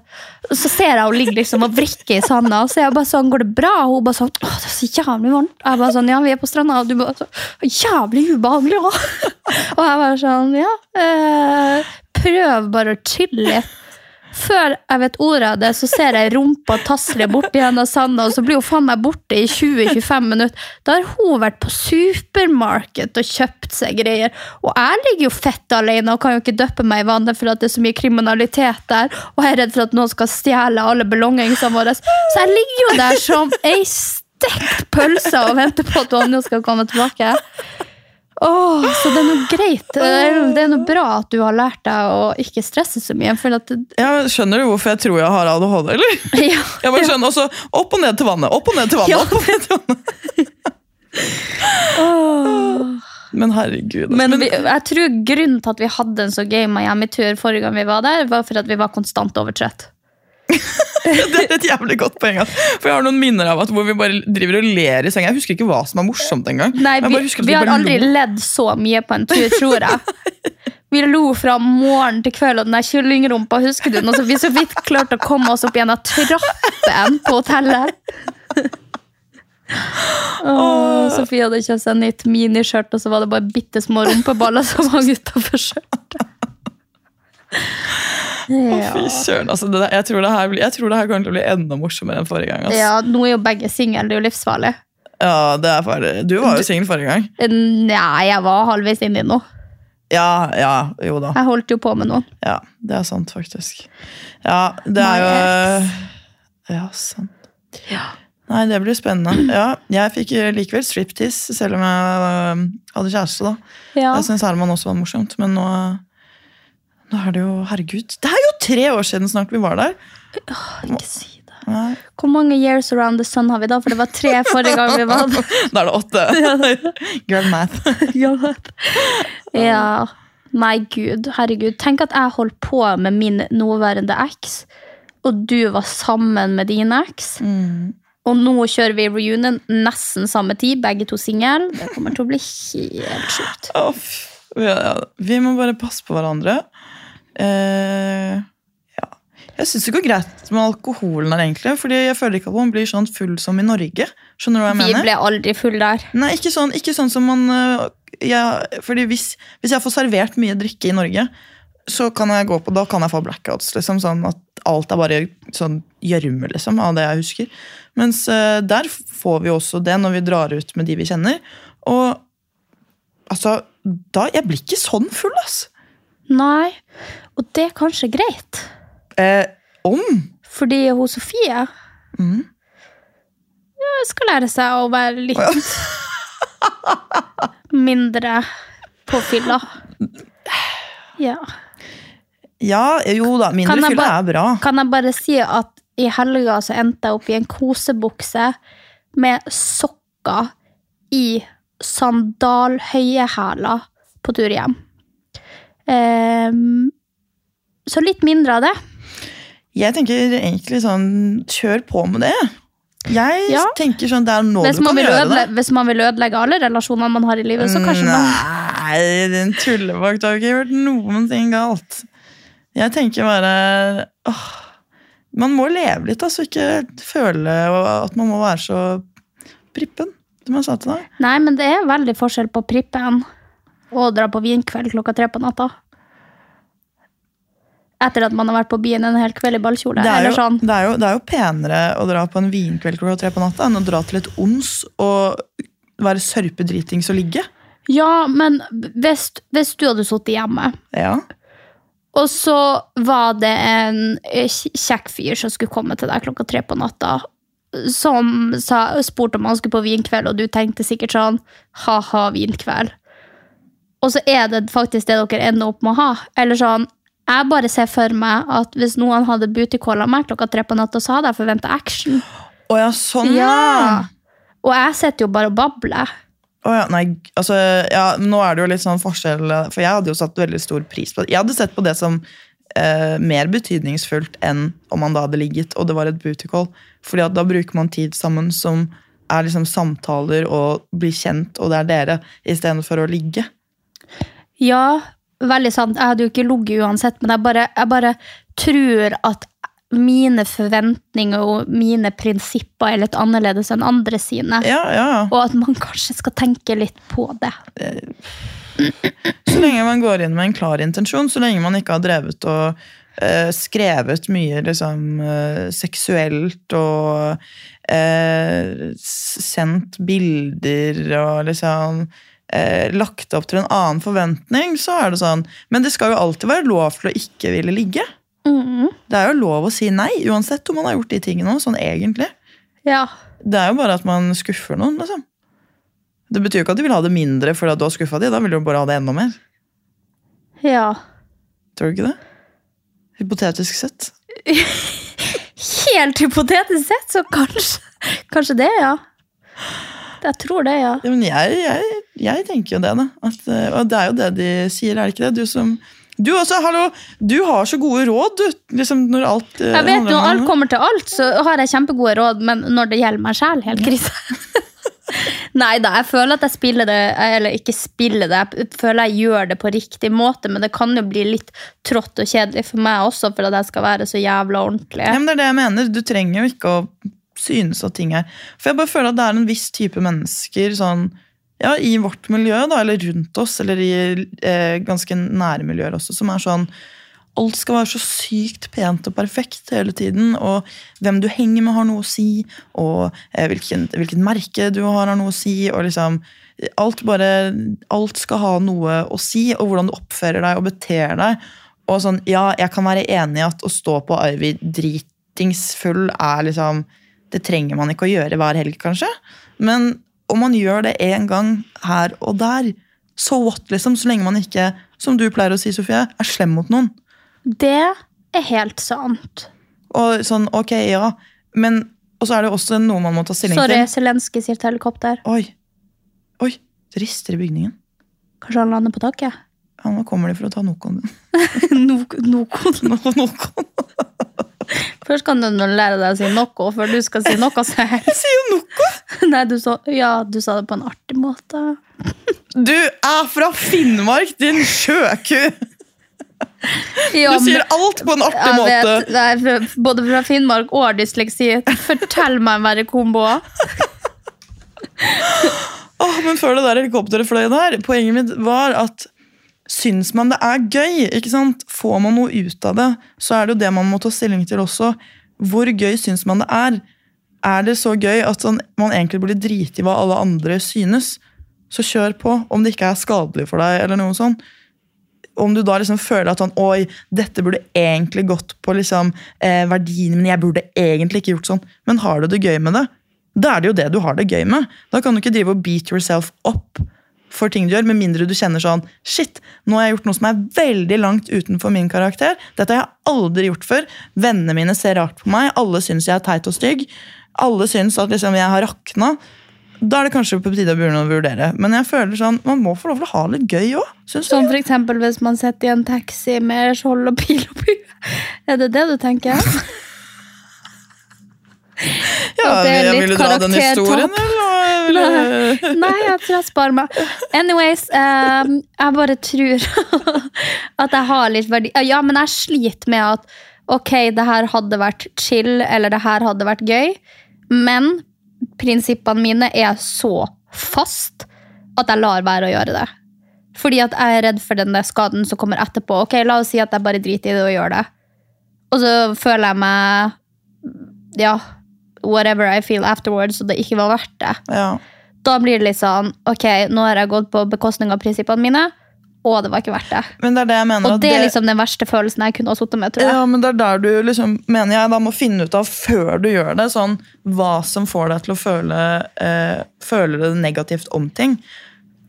[SPEAKER 2] så ser jeg hun ligger liksom og vrikker i sanda. Og så er jeg bare sånn, går det bra? Og hun bare sånn, åh, det er så jævlig varmt. Jeg bare sånn, ja, vi er på stranda. Og du bare sånn, jævlig ubehagelig også. *laughs* Og jeg bare sånn, ja, eh, prøv bare å chille litt. Før jeg vet ordet av det, så ser jeg rumpa tasle borti henne sanda, og så blir hun faen meg borte i 20-25 minutter. Da har hun vært på supermarked og kjøpt seg greier. Og jeg ligger jo fett alene og kan jo ikke døppe meg i vannet for at det er så mye kriminalitet der, og jeg er redd for at noen skal stjele alle belongingsene våre. Så jeg ligger jo der som ei stekt pølse og venter på at Anja skal komme tilbake. Åh, så det er noe greit. Det er, det er noe bra at du har lært deg å ikke stresse så mye. For at det,
[SPEAKER 1] Ja, skjønner du hvorfor jeg tror jeg har ADHD, eller?
[SPEAKER 2] *laughs* ja.
[SPEAKER 1] Jeg bare skjønner, og så opp og ned til vannet, opp og ned til vannet,
[SPEAKER 2] Ja.
[SPEAKER 1] opp og ned til vannet. Men herregud. altså.
[SPEAKER 2] Men vi, jeg tror grunnen til at vi hadde en så gøy Miami-tur forrige gang vi var der, var for at vi var konstant overtrøtt.
[SPEAKER 1] *laughs* Det er et jævlig godt poeng. ass. For jeg har noen minner av at hvor vi bare driver og ler i senga. Jeg husker ikke hva som er morsomt engang.
[SPEAKER 2] Nei,
[SPEAKER 1] Jeg
[SPEAKER 2] vi,
[SPEAKER 1] bare husker at
[SPEAKER 2] vi har
[SPEAKER 1] bare
[SPEAKER 2] aldri
[SPEAKER 1] lo.
[SPEAKER 2] ledd så mye på en tur, tror
[SPEAKER 1] *laughs*
[SPEAKER 2] jeg. Vi lo fra morgen til kveld, og den der kyllingrumpa husker du? Nå, så vi så vidt klarte å komme oss opp gjennom trappen på hotellet. Åh, Sofie hadde kjøpt seg nytt miniskjørt, og så var det bare bitte små rumpeballer som hang utafor skjørtet. Ja.
[SPEAKER 1] Fy søren, altså, det der, jeg, tror det her, blir- jeg tror det her kommer til å bli enda morsommere enn forrige gang. ass.
[SPEAKER 2] ja, nå er jo begge single, det er jo livsfarlig. Eh,
[SPEAKER 1] Ja, det er farlig. Du var jo singel forrige gang.
[SPEAKER 2] Nei, jeg var halvveis inni nå.
[SPEAKER 1] Ja, ja, jo da.
[SPEAKER 2] Jeg holdt jo på med noen.
[SPEAKER 1] Ja, det er sant, faktisk. Ja, det er
[SPEAKER 2] My
[SPEAKER 1] jo Ja, sant. Nei, det blir spennende. Ja, jeg fikk eh, likevel striptease, selv om jeg øh, hadde kjæreste, da.
[SPEAKER 2] Ja.
[SPEAKER 1] Jeg syns Herman også var morsomt, men nå Nå er det jo Herregud, det er jo tre år siden snart vi var der! sånn-
[SPEAKER 2] Ikke si det.
[SPEAKER 1] Nei, *laughs*
[SPEAKER 2] Hvor mange years around the sun har vi da? For det var tre forrige gang vi var der.
[SPEAKER 1] Da er det åtte! Girl math.
[SPEAKER 2] Ja. Nei, gud. Herregud. Tenk at jeg holdt på med min nåværende eks, og du var sammen med din eks. Og nå kjører vi reunion nesten samme tid, begge to single. Det kommer til å bli helt sjukt.
[SPEAKER 1] Å, f- ja, ja. Vi må bare passe på hverandre. Eh, ja. Jeg syns det går greit med alkoholen her, egentlig. Fordi jeg føler ikke at man blir sånn full som i Norge. Skjønner du hva jeg
[SPEAKER 2] Vi
[SPEAKER 1] mener?
[SPEAKER 2] ble aldri full der.
[SPEAKER 1] Nei, ikke sånn, ikke sånn som man øh, jeg, Fordi hvis, hvis jeg får servert mye drikke i Norge, så kan jeg gå på, da kan jeg få blackouts. Liksom, sånn at alt er bare sånn gjørme liksom, av det jeg husker. Mens øh, der får vi også det når vi drar ut med de vi kjenner. Og altså da, Jeg blir ikke sånn full, ass!
[SPEAKER 2] Nei. Og det er kanskje greit.
[SPEAKER 1] Eh, om?
[SPEAKER 2] Fordi hun Sofie
[SPEAKER 1] Mhm.
[SPEAKER 2] ja, skal lære seg å være litt *laughs* mindre på fylla. Ja.
[SPEAKER 1] Ja, jo da. Mindre
[SPEAKER 2] Kan jeg
[SPEAKER 1] fylla
[SPEAKER 2] bare-
[SPEAKER 1] er bra.
[SPEAKER 2] Kan jeg bare si at i helga så endte jeg opp i en kosebukse med sokker i sandalhøyehæler på tur hjem. Ehm, så litt mindre av det.
[SPEAKER 1] Jeg tenker egentlig sånn Kjør på med det. Jeg
[SPEAKER 2] Ja.
[SPEAKER 1] tenker sånn Det er nå
[SPEAKER 2] Hvis
[SPEAKER 1] du
[SPEAKER 2] man,
[SPEAKER 1] kan
[SPEAKER 2] vil
[SPEAKER 1] gjøre det.
[SPEAKER 2] ødelegge, hvis man vil ødelegge alle relasjonene man har i livet, så kanskje man
[SPEAKER 1] Nei, den tullevakt har ikke gjort noen ting galt. Jeg tenker bare åh, Man må leve litt, altså. Ikke føle at man må være så prippen, som jeg sa til deg.
[SPEAKER 2] Nei, men det er veldig forskjell på prippen og dra på vinkveld klokka tre på natta. Etter at man har vært på byen en hel kveld i ballkjole.
[SPEAKER 1] Det er,
[SPEAKER 2] Eller
[SPEAKER 1] jo,
[SPEAKER 2] sånn.
[SPEAKER 1] det, er jo, det er jo penere å dra på en vinkveld klokka tre på natta enn å dra til et ons og være sørpedritings og ligge.
[SPEAKER 2] Ja, men hvis, hvis du hadde sittet hjemme,
[SPEAKER 1] Ja.
[SPEAKER 2] og så var det en eh, kj- kjekk fyr som skulle komme til deg klokka tre på natta, som sa, spurte om han skulle på vinkveld, og du tenkte sikkert sånn ha-ha, vinkveld. Og så er det faktisk det dere ender opp med å ha. Eller sånn, jeg bare ser for meg at hvis noen hadde bootycalla meg klokka tre på natta, så hadde jeg forventa action.
[SPEAKER 1] Å ja, sånn,
[SPEAKER 2] Ja! Og jeg sitter jo bare og babler.
[SPEAKER 1] Å ja, nei, altså, ja, nå er det jo litt sånn forskjell, for jeg hadde jo satt veldig stor pris på det. Jeg hadde sett på det som eh, mer betydningsfullt enn om man da hadde ligget, og det var et booty call. Fordi at da bruker man tid sammen som er liksom samtaler og blir kjent, og det er dere, istedenfor å ligge.
[SPEAKER 2] Ja, veldig sant. Jeg hadde jo ikke ligget uansett, men jeg bare, jeg bare tror at mine forventninger og mine prinsipper er litt annerledes enn andre sine.
[SPEAKER 1] Ja, ja, ja.
[SPEAKER 2] Og at man kanskje skal tenke litt på det.
[SPEAKER 1] Så lenge man går inn med en klar intensjon, så lenge man ikke har drevet og eh, skrevet mye liksom, eh, seksuelt og eh, s- sendt bilder og liksom eh, lagt opp til en annen forventning, så er det sånn. Men det skal jo alltid være lov til å ikke ville ligge.
[SPEAKER 2] Mm.
[SPEAKER 1] Det er jo lov å si nei, uansett om man har gjort de tingene også, sånn egentlig.
[SPEAKER 2] Ja.
[SPEAKER 1] Det er jo bare at man skuffer noen, liksom. Det betyr jo ikke at de vil ha det mindre fordi at du har skuffa de, da vil du bare ha det enda mer.
[SPEAKER 2] Ja.
[SPEAKER 1] Tror du ikke det? Hypotetisk sett.
[SPEAKER 2] Helt hypotetisk sett, så kanskje, kanskje det, ja. Jeg tror det, ja.
[SPEAKER 1] Ja, men jeg, jeg, jeg tenker jo det, da. At, eh, og det er jo det de sier, er det ikke det? Du som Du også, hallo! Du har så gode råd, du! Liksom når alt eh,
[SPEAKER 2] Jeg vet
[SPEAKER 1] handler
[SPEAKER 2] Når
[SPEAKER 1] om-
[SPEAKER 2] alt kommer til alt, så har jeg kjempegode råd, men når det gjelder meg sjæl, helt krise. *laughs* Nei da, jeg føler at jeg spiller det, eller ikke spiller det, jeg føler jeg gjør det på riktig måte, men det kan jo bli litt trått og kjedelig for meg også, for at jeg skal være så jævla
[SPEAKER 1] Ja,
[SPEAKER 2] ordentlig.
[SPEAKER 1] men det er det jeg mener. Du trenger jo ikke å synes at ting er For jeg bare føler at det er en viss type mennesker sånn ja, i vårt miljø, da, eller rundt oss, eller i eh, ganske nære miljøer også, som er sånn Alt skal være så sykt pent og perfekt hele tiden, og hvem du henger med, har noe å si, og eh, hvilken, hvilket merke du har, har noe å si, og liksom Alt bare Alt skal ha noe å si, og hvordan du oppfører deg og beter deg. Og sånn, ja, jeg kan være enig i at å stå på Arvi dritingsfull er liksom Det trenger man ikke å gjøre hver helg, kanskje. Men om man gjør det én gang her og der, så what, liksom? Så lenge man ikke, som du pleier å si, Sofie, er slem mot noen.
[SPEAKER 2] Det er helt sant.
[SPEAKER 1] Og sånn, ok, ja, men Og så er det jo også noe man må ta stilling
[SPEAKER 2] Sorry,
[SPEAKER 1] til.
[SPEAKER 2] Zelenskyj sier til helikopter.
[SPEAKER 1] Oi. Oi, det rister i bygningen.
[SPEAKER 2] Kanskje han lander på taket? *laughs*
[SPEAKER 1] Ja, nå kommer de for å ta Nokon. *laughs*
[SPEAKER 2] No, no, kon-
[SPEAKER 1] Nokon.
[SPEAKER 2] Først kan du nå lære deg å si noe før du skal si noe selv.
[SPEAKER 1] Jeg sier jo Noko!
[SPEAKER 2] *laughs* Nei, du sa, ja, du sa det på en artig måte.
[SPEAKER 1] Du er fra Finnmark, din sjøku!
[SPEAKER 2] Ja,
[SPEAKER 1] Du sier
[SPEAKER 2] men-
[SPEAKER 1] alt på en artig
[SPEAKER 2] Jeg
[SPEAKER 1] måte.
[SPEAKER 2] vet, det er fra- både fra Finnmark og dysleksi. Fortell meg om hver kombo.
[SPEAKER 1] Åh, men før det der helikopteret fløy der, poenget mitt var at syns man det er gøy, ikke sant? Får man noe ut av det, så er det jo det man må ta stilling til også. Hvor gøy syns man det er? Er det så gøy at sånn, man egentlig burde drite i hva alle andre synes? Så kjør på, om det ikke er skadelig for deg eller noe sånt. om du da liksom føler at sånn, oi, dette burde egentlig gått på liksom, eh, verdiene mine, jeg burde egentlig ikke gjort sånn, men har du det gøy med det, da er det jo det du har det gøy med. Da kan du ikke drive og beat yourself opp for ting du gjør, med mindre du kjenner sånn Shit, nå har jeg gjort noe som er veldig langt utenfor min karakter. Dette har jeg aldri gjort før. Vennene mine ser rart på meg. Alle syns jeg er teit og stygg. Alle syns at liksom jeg har rakna. Da er det kanskje på tide å begynne å vurdere. Men jeg føler sånn, man må få lov til å ha det gøy òg.
[SPEAKER 2] Som for eksempel hvis man sitter i en taxi med skjold og pil og bue. Er det det du tenker? At det er litt
[SPEAKER 1] vil du dra den
[SPEAKER 2] karaktertap.
[SPEAKER 1] historien, eller? hva? Eller-
[SPEAKER 2] Nei, *laughs* Nei, jeg tror jeg sparer meg. Anyways, eh, jeg bare tror *laughs* at jeg har litt verdi. Ja, men jeg sliter med at ok, det her hadde vært chill, eller det her hadde vært gøy, men prinsippene mine er så fast at jeg lar være å gjøre det. Fordi at jeg er redd for den der skaden som kommer etterpå. Ok, la oss si at jeg bare driter i det og gjør det. Og så føler jeg meg Ja, whatever I feel afterwards, og det ikke var verdt det
[SPEAKER 1] Ja.
[SPEAKER 2] da blir det litt sånn Ok, nå har jeg gått på bekostning av prinsippene mine, og det var ikke verdt det.
[SPEAKER 1] Men det er det jeg mener.
[SPEAKER 2] Og
[SPEAKER 1] at
[SPEAKER 2] det er liksom den verste følelsen jeg kunne ha sittet med. tror jeg.
[SPEAKER 1] Ja, men det er der du liksom, mener jeg da må finne ut av før du gjør det, sånn hva som får deg til å føle, eh, føle det negativt om ting.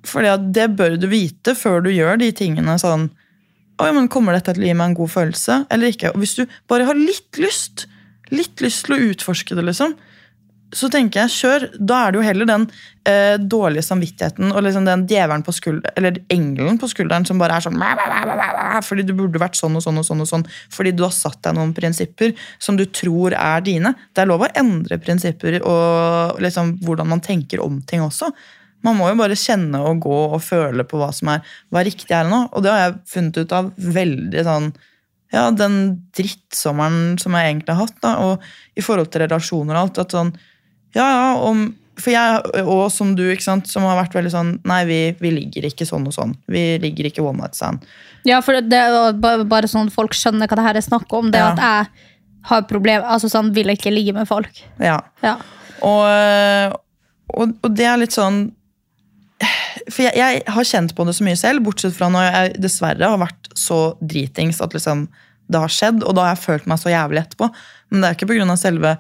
[SPEAKER 1] Fordi at det bør du vite før du gjør de tingene sånn Oi, men kommer dette til å gi meg en god følelse, eller ikke? Og hvis du bare har litt lyst, litt lyst til å utforske det, liksom, så tenker jeg, kjør. Da er det jo heller den eh, dårlige samvittigheten og liksom den djevelen på skulderen, eller engelen på skulderen som bare er sånn "Mæ, mæ, mæ, mæ, mæ, mæ," Fordi du burde vært sånn og sånn og sånn. og sånn, Fordi du har satt deg noen prinsipper som du tror er dine. Det er lov å endre prinsipper og liksom hvordan man tenker om ting også. Man må jo bare kjenne og gå og føle på hva som er hva riktig er nå. Og det har jeg funnet ut av veldig sånn ja, den drittsommeren som jeg egentlig har hatt, da, og i forhold til relasjoner og alt, at sånn, ja, ja, om, for jeg, og som du, ikke sant, som har vært veldig sånn, nei, vi, vi ligger ikke sånn og sånn, vi ligger ikke one night stand.
[SPEAKER 2] Ja, for det er jo ba- bare sånn at folk skjønner hva det her er snakk om. Det
[SPEAKER 1] Ja.
[SPEAKER 2] at jeg har problem, altså sånn, vil ikke ligge med folk.
[SPEAKER 1] Ja.
[SPEAKER 2] Ja.
[SPEAKER 1] Og, og, og det er litt sånn For jeg, jeg har kjent på det så mye selv, bortsett fra når jeg dessverre har vært så dritings at liksom det har skjedd, og da har jeg følt meg så jævlig etterpå. Men det er ikke pga. selve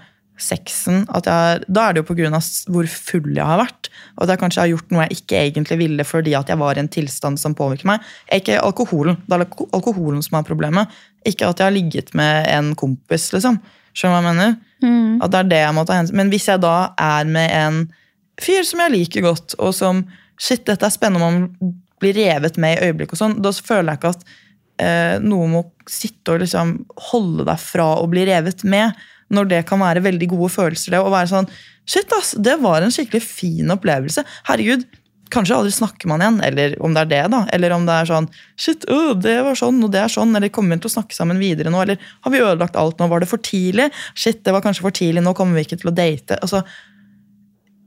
[SPEAKER 1] sexen. At jeg, er- da er det jo pga. hvor full jeg har vært. Og at jeg kanskje har gjort noe jeg ikke egentlig ville fordi at jeg var i en tilstand som påvirker meg. Ikke alkoholen. Det er alko- alkoholen som er problemet. Ikke at jeg har ligget med en kompis, liksom. Skjønner du hva jeg mener? At det er det jeg må ta hensyn Men hvis jeg da er med en fyr som jeg liker godt, og som Shit, dette er spennende om man blir revet med i øyeblikket og sånn. Da føler jeg ikke at eh, noe må sitte og liksom holde deg fra å bli revet med. Når det kan være veldig gode følelser. Det å være sånn Shit, ass! Det var en skikkelig fin opplevelse. Herregud. Kanskje aldri snakker man igjen, eller om det er det, da. Eller om det er sånn Shit, øh, det var sånn, og det er sånn. Eller kommer vi til å snakke sammen videre nå? Eller har vi ødelagt alt nå? Var det for tidlig? Shit, det var kanskje for tidlig, nå kommer vi ikke til å date. Altså,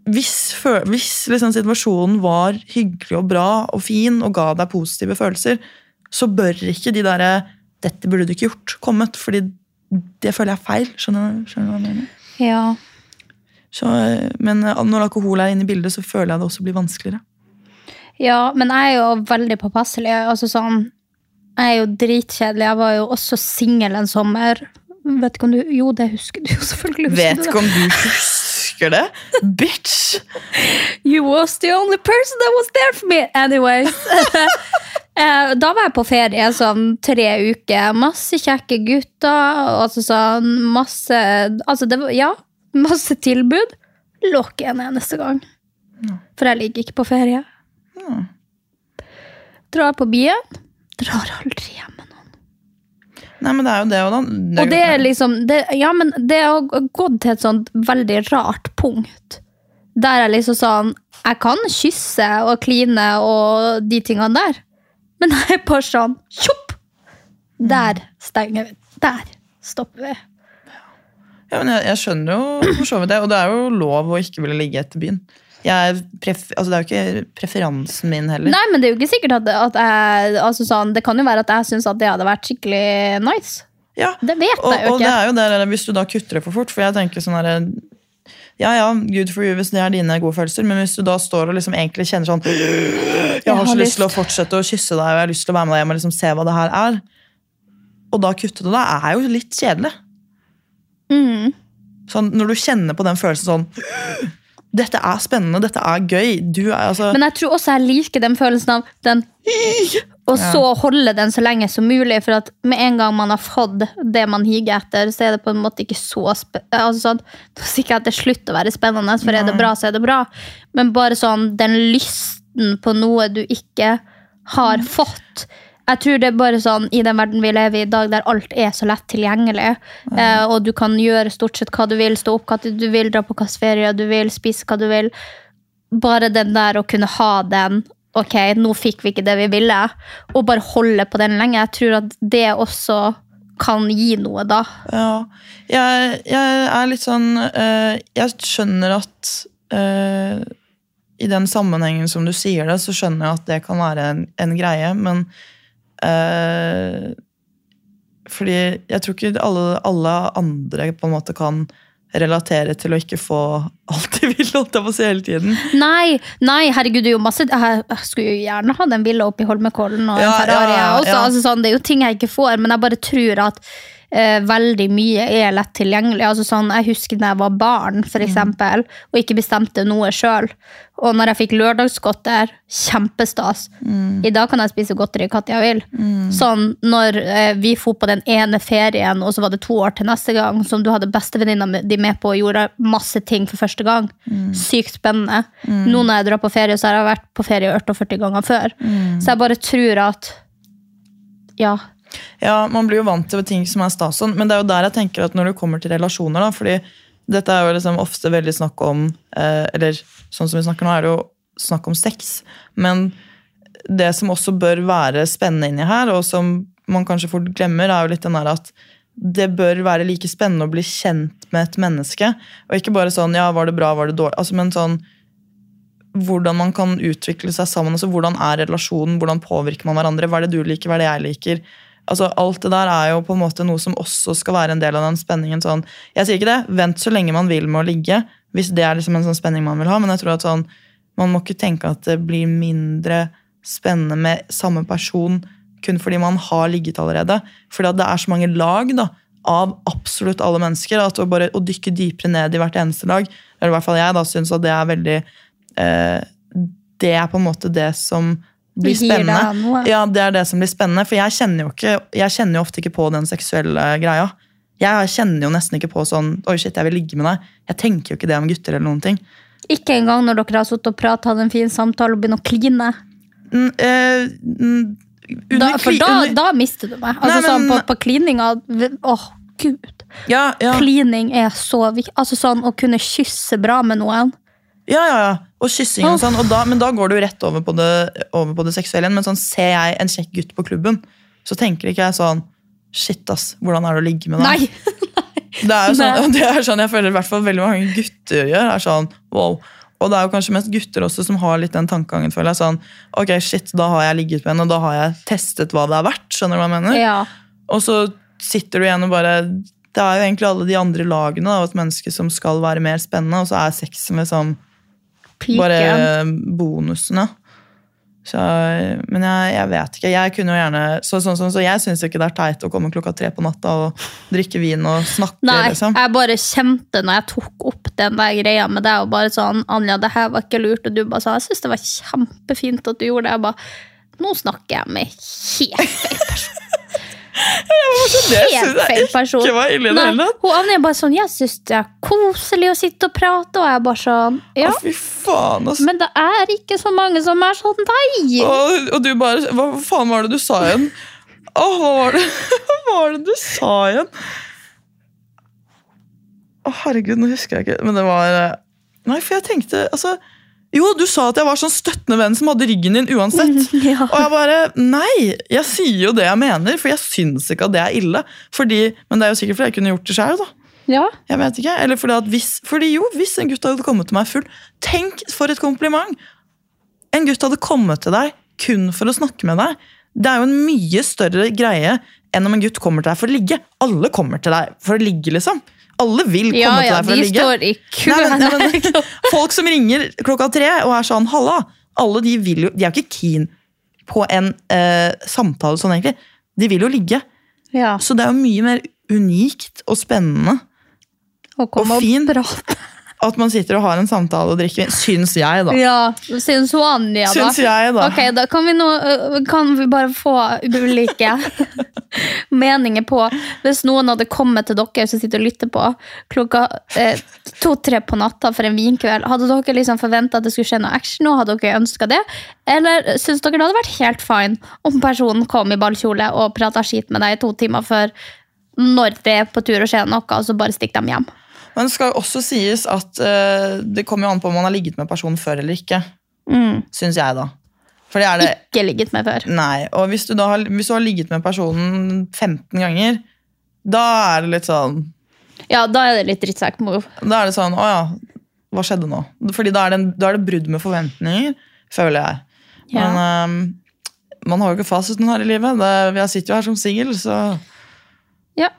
[SPEAKER 1] hvis, fø- hvis liksom situasjonen var hyggelig og bra og fin og ga deg positive følelser, så bør ikke de derre 'dette burde du ikke gjort' kommet, fordi det føler jeg er feil. Skjønner, du- skjønner du hva jeg mener?
[SPEAKER 2] Ja.
[SPEAKER 1] Så, eh, men eh, når alkohol er inne i bildet, så føler jeg det også blir vanskeligere.
[SPEAKER 2] ja, men jeg er jo veldig påpasselig. Altså sånn, jeg er jo dritkjedelig. Jeg var jo også singel en sommer. Vet ikke om du Jo, det husker du jo selvfølgelig. husker du det.
[SPEAKER 1] om du husker det? Bitch!
[SPEAKER 2] You was the only person that was there for me Anyways Eh, Da var jeg på ferie sånn tre uker Masse kjekke gutter Altså sånn masse Altså det var, ja, masse tilbud Lå ikke en eneste gang For jeg ligger ikke på ferie Drar på byen Drar aldri hjem
[SPEAKER 1] Nei, men det er jo det, og da
[SPEAKER 2] Og det er liksom det, Ja, men det har gått til et sånt veldig rart punkt. Der jeg liksom sånn Jeg kan kysse og kline og de tingene der, men *laughs* jeg er bare sånn Tjopp! Der stenger vi. Der stopper vi.
[SPEAKER 1] Ja, men jeg, jeg skjønner jo for så vidt det, og det er jo lov å ikke ville ligge etter byen. Jeg pref, altså det er jo ikke preferansen min heller.
[SPEAKER 2] Nei, men det er jo ikke sikkert at, at jeg altså sånn, Det kan jo være at jeg syns at det hadde vært skikkelig nice.
[SPEAKER 1] Ja,
[SPEAKER 2] Det vet jeg
[SPEAKER 1] og,
[SPEAKER 2] jo
[SPEAKER 1] og det
[SPEAKER 2] ikke.
[SPEAKER 1] er jo det, eller hvis du da kutter det for fort, for jeg tenker sånn her ja, ja, good for you hvis det er dine gode følelser, men hvis du da står og liksom egentlig kjenner sånn Jeg har så lyst til å fortsette å kysse deg, og jeg har lyst til å være med deg hjem og liksom se hva det her er. Og da kutte det, da er jo litt kjedelig.
[SPEAKER 2] Mm.
[SPEAKER 1] Sånn, når du kjenner på den følelsen sånn Dette er spennende, dette er gøy. Du er altså
[SPEAKER 2] Men jeg tror også jeg liker den følelsen av den Og så holde den så lenge som mulig, for at med en gang man har fått det man higer etter, så er det på en måte ikke så spe altså sånn, Nå sier ikke jeg at det slutter å være spennende, for er det bra, så er det bra. Men bare sånn den lysten på noe du ikke har fått. Jeg tror det er bare sånn i den verden vi lever i i dag, der alt er så lett tilgjengelig, eh, og du kan gjøre stort sett hva du vil, stå opp hva du vil, dra på hva slags ferie du vil, spise hva du vil bare den der å kunne ha den Ok, nå fikk vi ikke det vi ville. Og bare holde på den lenge. Jeg tror at det også kan gi noe, da.
[SPEAKER 1] Ja, jeg, jeg er litt sånn eh, Jeg skjønner at eh, I den sammenhengen som du sier det, så skjønner jeg at det kan være en, en greie, men eh, Fordi jeg tror ikke alle, alle andre på en måte kan relatere til å ikke få *laughs* alt de vil, holdt jeg på å si, hele tiden.
[SPEAKER 2] Nei, nei, herregud, det er jo masse Jeg jeg skulle jo gjerne ha den villa oppe i Holmenkollen og en
[SPEAKER 1] Ja,
[SPEAKER 2] Ferrari.
[SPEAKER 1] ja, ja,
[SPEAKER 2] også.
[SPEAKER 1] ja.
[SPEAKER 2] Altså, sånn, det er jo ting jeg ikke får, men jeg bare tror at eh, veldig mye er lett tilgjengelig. Altså, sånn, jeg husker da jeg var barn, for eksempel, og ikke bestemte noe sjøl. Og når jeg fikk lørdagsgodter, kjempestas. I dag kan jeg spise godteri hva jeg vil. Sånn, når eh, vi for på den ene ferien, og så var det to år til neste gang, som du hadde bestevenninna mi- di med på og gjorde masse ting for første gang. Sykt spennende. Nå når jeg drar på ferie, så har jeg vært på ferie 48 ganger før. Så jeg bare tror at ja.
[SPEAKER 1] Ja, man blir jo vant til ting som er stas sånn, men det er jo der jeg tenker at når det kommer til relasjoner, da, fordi dette er jo liksom ofte veldig snakk om eh, Eller sånn som vi snakker nå, er det jo snakk om sex. Men det som også bør være spennende inni her, og som man kanskje fort glemmer, er jo litt den der at det bør være like spennende å bli kjent med et menneske. Og ikke bare sånn 'ja, var det bra, var det dårlig'? Altså, men sånn hvordan man kan utvikle seg sammen. altså Hvordan er relasjonen, hvordan påvirker man hverandre, hva er det du liker, hva er det jeg liker. altså Alt det der er jo på en måte noe som også skal være en del av den spenningen. sånn, Jeg sier ikke det, vent så lenge man vil med å ligge, hvis det er liksom en sånn spenning man vil ha. Men jeg tror at sånn, man må ikke tenke at det blir mindre spennende med samme person kun fordi man har ligget allerede. Fordi at det er så mange lag da, av absolutt alle mennesker. at Å bare å dykke dypere ned i hvert eneste lag, eller i hvert fall jeg da, synes at det er veldig eh, det er på en måte det som blir
[SPEAKER 2] Gir deg
[SPEAKER 1] spennende.
[SPEAKER 2] noe.
[SPEAKER 1] Ja, det er det som blir spennende, for jeg kjenner jo, ikke, jeg kjenner jo ofte ikke på den seksuelle greia. Jeg kjenner jo nesten ikke på sånn Oi, shit, jeg vil ligge med deg. Jeg tenker jo ikke det om gutter eller noen ting.
[SPEAKER 2] Ikke engang når dere har sittet og pratet, hatt en fin samtale og begynner å kline.
[SPEAKER 1] Mm, eh, mm, under
[SPEAKER 2] Da, for
[SPEAKER 1] kli-
[SPEAKER 2] da,
[SPEAKER 1] under-
[SPEAKER 2] da mister du meg.
[SPEAKER 1] Nei,
[SPEAKER 2] Altså, sånn, på,
[SPEAKER 1] men-
[SPEAKER 2] på klininga Åh, gud.
[SPEAKER 1] ja, ja.
[SPEAKER 2] Klining er så viktig. Altså sånn å kunne kysse bra med noen.
[SPEAKER 1] Ja, ja, ja. Og kyssing og
[SPEAKER 2] Åh.
[SPEAKER 1] sånn. Og da, men da går du rett over på det, over på det seksuelle igjen. Men sånn, ser jeg en kjekk gutt på klubben, så tenker ikke jeg sånn Shit, ass. Hvordan er det å ligge med deg?
[SPEAKER 2] Nei!
[SPEAKER 1] Det er jo sånn,
[SPEAKER 2] Nei.
[SPEAKER 1] og *laughs* det er sånn jeg føler i hvert fall veldig mange gutter gjør. er sånn, wow. Og det er jo kanskje mest gutter også som har litt den tankegangen. føler jeg, sånn, ok, shit, Da har jeg ligget med henne, og da har jeg testet hva det er verdt. skjønner du hva jeg mener?
[SPEAKER 2] Ja.
[SPEAKER 1] Og så sitter du igjen og bare Det er jo egentlig alle de andre lagene av et menneske som skal være mer spennende, og så er sexen liksom
[SPEAKER 2] Piken.
[SPEAKER 1] bare bonusene. Så, men jeg, jeg vet ikke. Jeg kunne jo gjerne Så, sånn- sånn- så jeg syns ikke det er teit å komme klokka tre på natta og drikke vin og snakke.
[SPEAKER 2] Nei,
[SPEAKER 1] liksom.
[SPEAKER 2] jeg bare kjente når jeg tok opp den der greia med deg, og bare sånn 'Anja, det her var ikke lurt', og du bare sa 'Jeg syns det var kjempefint at du gjorde det'. Jeg bare Nå snakker jeg med helt feil
[SPEAKER 1] *laughs*
[SPEAKER 2] person.
[SPEAKER 1] altså, synes
[SPEAKER 2] Helt
[SPEAKER 1] jeg
[SPEAKER 2] feil person.
[SPEAKER 1] ikke var ille i det
[SPEAKER 2] Nei,
[SPEAKER 1] hele tatt.
[SPEAKER 2] Hun Anja bare sånn 'Jeg syns det er koselig å sitte og prate', og jeg bare sånn Ja,
[SPEAKER 1] Å, fy faen, ass.
[SPEAKER 2] men det er ikke så mange som er sånn deg.
[SPEAKER 1] og, og du bare Hva faen var det du sa igjen? Å, hva var det *laughs* Hva var det du sa igjen? Å, herregud, nå husker jeg ikke. Men det var eh, Nei, for jeg tenkte altså, Jo, du sa at jeg var sånn støttende venn som hadde ryggen din uansett.
[SPEAKER 2] *laughs* Ja.
[SPEAKER 1] Og jeg bare Nei! Jeg sier jo det jeg mener, for jeg syns ikke at det er ille. Fordi, men det er jo sikkert fordi jeg kunne gjort det sjøl, da.
[SPEAKER 2] Ja.
[SPEAKER 1] Jeg vet ikke. Eller fordi, at hvis, fordi jo, hvis en gutt hadde kommet til meg full Tenk for et kompliment! En gutt hadde kommet til deg kun for å snakke med deg. Det er jo en mye større greie enn om en gutt kommer til deg for å ligge. Alle kommer til deg for å ligge, liksom. Alle vil komme
[SPEAKER 2] Ja,
[SPEAKER 1] til
[SPEAKER 2] ja,
[SPEAKER 1] deg for
[SPEAKER 2] de
[SPEAKER 1] å ligge.
[SPEAKER 2] står i kø
[SPEAKER 1] Nei, men, nei,
[SPEAKER 2] her.
[SPEAKER 1] men, folk som ringer klokka tre og er sånn 'halla', alle de vil jo De er jo ikke keen på en eh, samtale sånn, egentlig. De vil jo ligge.
[SPEAKER 2] *laughs* Ja,
[SPEAKER 1] Så det er jo mye mer unikt og spennende
[SPEAKER 2] og kom
[SPEAKER 1] og
[SPEAKER 2] og
[SPEAKER 1] fin.
[SPEAKER 2] prate.
[SPEAKER 1] at man sitter og har en samtale og drikker vin. Syns jeg, da.
[SPEAKER 2] Ja, syns hun Anja, da.
[SPEAKER 1] Syns jeg, da.
[SPEAKER 2] Ok, da kan vi, nå, øh, kan vi bare få *laughs* ulike meninger på Hvis noen hadde kommet til dere som sitter og lytter på, klokka eh, to-tre på natta for en vinkveld, hadde dere liksom forventa at det skulle skje noe action? Og hadde dere ønska det? Eller syns dere det hadde vært helt fine om personen kom i ballkjole og prata skit med deg i to timer før når det er på tur å skje noe, og så bare stikker de hjem?
[SPEAKER 1] Men det skal jo også sies at eh, det kommer jo an på om man har ligget med personen før eller ikke.
[SPEAKER 2] Mm.
[SPEAKER 1] Syns jeg, da. For det er det
[SPEAKER 2] Ikke ligget med før.
[SPEAKER 1] Nei, og hvis du, da har, hvis du har ligget med personen 15 ganger, da er det litt sånn
[SPEAKER 2] Ja, da er det litt drittsekk-move.
[SPEAKER 1] Da er det sånn, å ja, hva skjedde nå? Fordi da er det, en, da er det brudd med forventninger, føler jeg.
[SPEAKER 2] Ja.
[SPEAKER 1] Men ehm, man har jo ikke fasiten her i livet. Det, jeg sitter jo her som singel, så
[SPEAKER 2] Ja.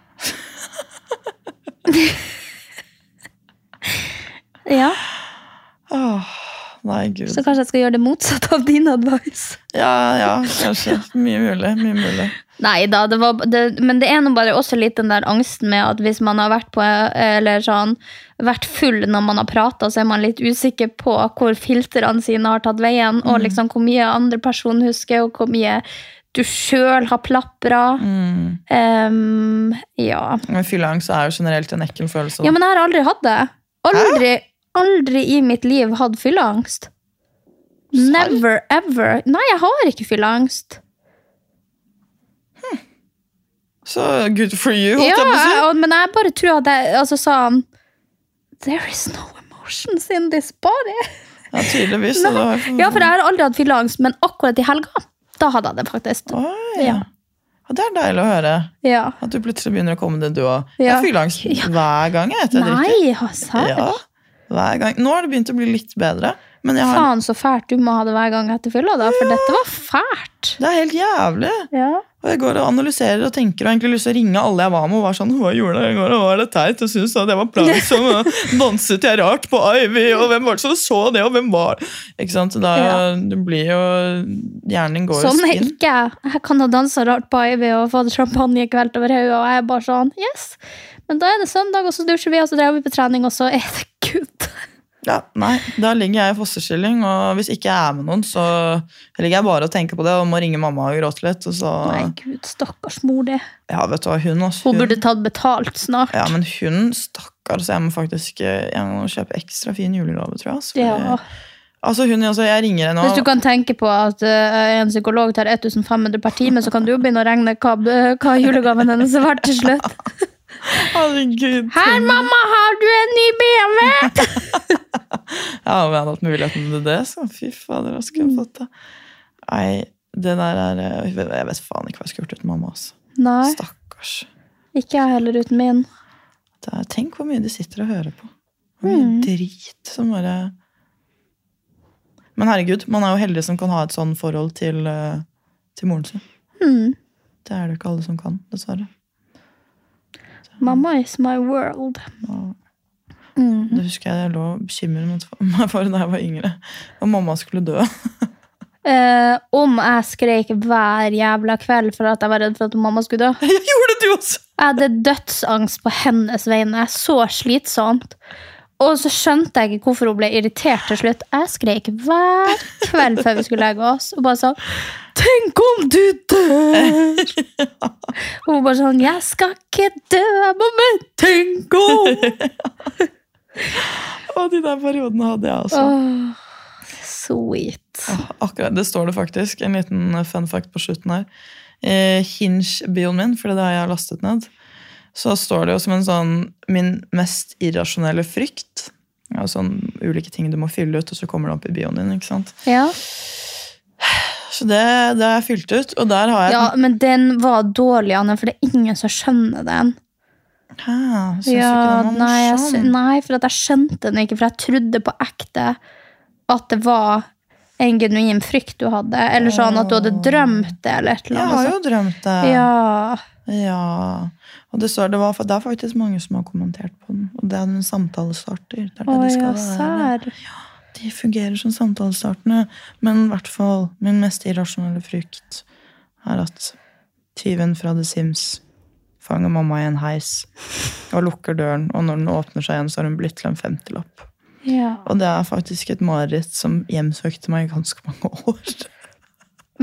[SPEAKER 2] *laughs* ja,
[SPEAKER 1] Åh, Nei, gud.
[SPEAKER 2] så kanskje jeg skal gjøre det motsatte av din advice.
[SPEAKER 1] Ja, ja, kanskje. Mye mulig. Mye mulig.
[SPEAKER 2] Nei da, det var, det, men det er nå bare også litt den der angsten med at hvis man har vært på eller sånn, vært full når man har prata, så er man litt usikker på hvor filtrene sine har tatt veien, og liksom hvor mye andre person husker, og hvor mye du sjøl har plapra.
[SPEAKER 1] Mm.
[SPEAKER 2] Em, ja.
[SPEAKER 1] Men fylleangst er jo generelt en ekkel følelse.
[SPEAKER 2] Ja, men jeg har aldri hatt det. Aldri, aldri i mitt liv hatt fylleangst. Never ever. Nei, jeg har ikke fylleangst.
[SPEAKER 1] Så good for you, holdt
[SPEAKER 2] Ja,
[SPEAKER 1] jeg på å si.
[SPEAKER 2] og- men jeg bare tror at jeg altså, sa There is no emotions in this body.
[SPEAKER 1] Ja, tydeligvis. så det var jo-
[SPEAKER 2] Ja, for jeg har aldri hatt fylleangst, men akkurat i helga, da hadde jeg det faktisk.
[SPEAKER 1] Oi.
[SPEAKER 2] Ja.
[SPEAKER 1] Ja, Det er deilig å høre.
[SPEAKER 2] Ja.
[SPEAKER 1] At du plutselig begynner å komme det, du òg. Jeg
[SPEAKER 2] Ja.
[SPEAKER 1] har fylleangst
[SPEAKER 2] Ja.
[SPEAKER 1] hver gang jeg etter jeg drikker.
[SPEAKER 2] Nei, Hazar.
[SPEAKER 1] Ja, hver gang. Nå har det begynt å bli litt bedre. Men jeg har,
[SPEAKER 2] Faen så fælt du må ha det hver gang etter fylla, da, for dette var fælt.
[SPEAKER 1] det er helt jævlig.
[SPEAKER 2] Ja.
[SPEAKER 1] Og jeg går og analyserer og tenker og har egentlig lyst til å ringe alle jeg var med. og var sånn, hva gjorde jeg i går, og var det teit, og synes at jeg var
[SPEAKER 2] *laughs*
[SPEAKER 1] plagsom, og danset jeg rart på Ivy, og hvem var det som så det, og hvem var Ikke sant? Da
[SPEAKER 2] Ja.
[SPEAKER 1] det blir jo Hjernen din går jo
[SPEAKER 2] Sånn er
[SPEAKER 1] spinn.
[SPEAKER 2] ikke jeg. Jeg kan ha dansa rart på Ivy og fått champagne kvelt over hodet, og jeg er bare sånn Yes! Men da er det søndag, og så dusjer vi, og så drar vi på trening, og så er det good.
[SPEAKER 1] Ja, nei, Da ligger jeg i fosterstilling, og hvis ikke jeg er med noen, så ligger jeg bare og tenker på det og må ringe mamma og gråte litt. Og så,
[SPEAKER 2] Nei, gud, stakkars mor di.
[SPEAKER 1] ja, vet du hva, hun, altså,
[SPEAKER 2] Hun burde tatt betalt snart.
[SPEAKER 1] Ja, men hun, stakkars, jeg må faktisk eh, jeg må kjøpe ekstra fin julegave, tror jeg. Altså,
[SPEAKER 2] Ja.
[SPEAKER 1] fordi- altså hun, altså, jeg ringer henne
[SPEAKER 2] Hvis du
[SPEAKER 1] og
[SPEAKER 2] kan tenke på at eh, en psykolog tar 1500 per time, så kan du jo begynne å regne hva, hva julegaven hennes er verdt til slutt.
[SPEAKER 1] Herregud.
[SPEAKER 2] Her, mamma, har du en ny BMW!
[SPEAKER 1] Ja, om jeg hadde hatt muligheten til det, så fy fader, hva skulle
[SPEAKER 2] Mm.
[SPEAKER 1] jeg fått det? Nei, det der er eh, Jeg vet faen ikke hva jeg skulle gjort uten mamma, altså.
[SPEAKER 2] Nei,
[SPEAKER 1] Stakkars.
[SPEAKER 2] ikke jeg heller uten min.
[SPEAKER 1] Det er, tenk hvor mye de sitter og hører på. Hvor mye
[SPEAKER 2] Mm.
[SPEAKER 1] drit som bare Men herregud, man er jo heldig som kan ha et sånn forhold til, eh, til moren sin.
[SPEAKER 2] Mm.
[SPEAKER 1] Det er det jo ikke alle som kan, dessverre.
[SPEAKER 2] Mamma is my world. Mm.
[SPEAKER 1] Det husker jeg jeg lå og bekymret meg for- *laughs* meg for da jeg var yngre. Og mamma skulle dø. *laughs*
[SPEAKER 2] Eh, om jeg skrek hver jævla kveld for at jeg var redd for at mamma skulle dø.
[SPEAKER 1] Jeg gjorde det, du også!
[SPEAKER 2] Jeg hadde dødsangst på hennes vegne. Så slitsomt. Og så skjønte jeg ikke hvorfor hun ble irritert til slutt. Jeg skrek hver kveld før vi skulle legge oss. Og bare sånn Tenk om du dør! Og hun bare sånn Jeg skal ikke dø, jeg må men tenk om!
[SPEAKER 1] Og de der periodene hadde jeg altså. også.
[SPEAKER 2] Åh, sweet.
[SPEAKER 1] Ah, Akkurat, Det står det faktisk. En liten eh, fun fact på slutten her. Eh, Hinge-bioen min, for det har jeg lastet ned, så står det jo som en sånn min mest irrasjonelle frykt. Ja, sånn ulike ting du må fylle ut, og så kommer det opp i bioen din. ikke sant?
[SPEAKER 2] Ja.
[SPEAKER 1] Så det, det har jeg fylt ut, og der har jeg
[SPEAKER 2] ja, men den var dårlig, Anne, for det er ingen som skjønner den.
[SPEAKER 1] Hæ, syns du
[SPEAKER 2] Ja,
[SPEAKER 1] ikke den var
[SPEAKER 2] nei, jeg, sy-
[SPEAKER 1] morsom?
[SPEAKER 2] nei, for at jeg skjønte den ikke, for jeg trodde på ekte at det var en genuin frykt du hadde, eller sånn at du hadde drømt det, eller et eller
[SPEAKER 1] Jeg
[SPEAKER 2] annet.
[SPEAKER 1] har jo drømt det.
[SPEAKER 2] sånt. Ja.
[SPEAKER 1] Ja, og det står det var, for det er faktisk mange som har kommentert på den. Og det er en samtalestarter. Det er det
[SPEAKER 2] Å
[SPEAKER 1] det
[SPEAKER 2] ja,
[SPEAKER 1] skal være.
[SPEAKER 2] serr.
[SPEAKER 1] De fungerer som samtalestartende. Men i hvert fall min mest irrasjonelle frykt er at tyven fra The Sims fanger mamma i en heis og lukker døren, og når den åpner seg igjen, så har hun blitt til en femtilapp.
[SPEAKER 2] Ja.
[SPEAKER 1] Og det er faktisk et mareritt som hjemsøkte meg i ganske mange *laughs* år.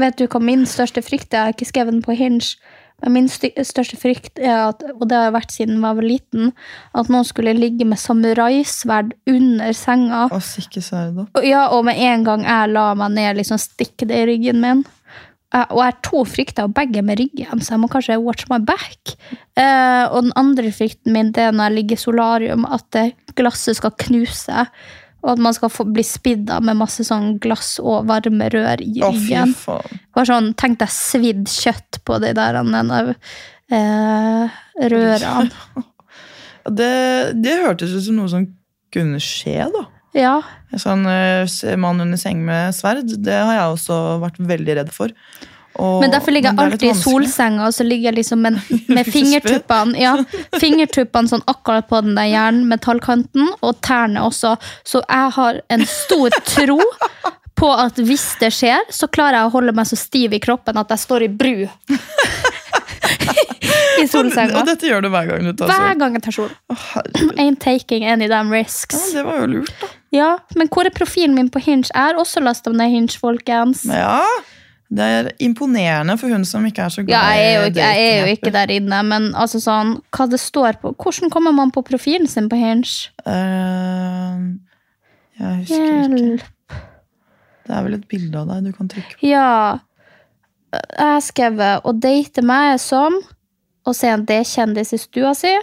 [SPEAKER 2] Vet du hva min største frykt er? Jeg har ikke skrevet den på Hinge. Men min sty- største frykt er at, og det har jeg vært siden jeg var liten, at noen skulle ligge med samuraisverd under senga.
[SPEAKER 1] Og stikke sverdet opp.
[SPEAKER 2] Og- Ja, og med en gang jeg la meg ned, liksom stikke det i ryggen min. Eh, Og jeg har to frykter, og begge er med ryggen, så jeg må kanskje watch my back. Eh, og den andre frykten min det er når jeg ligger i solarium, at det glasset skal knuse. Og at man skal få, bli spidd av med masse sånn glass og varme rør i
[SPEAKER 1] Å, fy
[SPEAKER 2] ryggen.
[SPEAKER 1] faen.
[SPEAKER 2] Bare sånn, tenk deg svidd kjøtt på de der denne, eh,
[SPEAKER 1] *laughs*
[SPEAKER 2] røra.
[SPEAKER 1] Det, det hørtes ut som noe som kunne skje, da.
[SPEAKER 2] Ja,
[SPEAKER 1] En Sånn eh, s- mann under seng med sverd, det har jeg også vært veldig redd for. Og-
[SPEAKER 2] men derfor ligger jeg
[SPEAKER 1] men det
[SPEAKER 2] alltid
[SPEAKER 1] er
[SPEAKER 2] i
[SPEAKER 1] litt vanskelig.
[SPEAKER 2] solsenga, og så ligger jeg
[SPEAKER 1] *laughs*
[SPEAKER 2] liksom med, med fingertuppene ja, *laughs* fingertuppene sånn akkurat på den der jernmetallkanten, og tærne også. Så jeg har en stor tro på at hvis det skjer, så klarer jeg å holde meg så stiv i kroppen at jeg står i bru *laughs* i
[SPEAKER 1] Og
[SPEAKER 2] solsenga.
[SPEAKER 1] dette gjør du hver gang du tar
[SPEAKER 2] Hver
[SPEAKER 1] sol.
[SPEAKER 2] gang jeg tar sol.
[SPEAKER 1] Å, herregud.
[SPEAKER 2] Ain't taking any damn risks.
[SPEAKER 1] Ja, det var jo lurt, altså. da.
[SPEAKER 2] Ja, men hvor er profilen min på Hinge? Jeg har også lasta ned Hinge, folkens.
[SPEAKER 1] Men ja, det er imponerende for hun som ikke er så glad
[SPEAKER 2] Ja, jeg er jo
[SPEAKER 1] i
[SPEAKER 2] ikke, jeg er jo ikke
[SPEAKER 1] datingapper.
[SPEAKER 2] der inne, men altså sånn, hva det står på Hvordan kommer man på profilen sin på Hinge?
[SPEAKER 1] Eh, jeg husker ikke.
[SPEAKER 2] Hjelp.
[SPEAKER 1] Det er vel et bilde av deg du kan trykke på.
[SPEAKER 2] Ja. Jeg har skrevet 'Å date meg er som å se en D-kjendis i stua si'.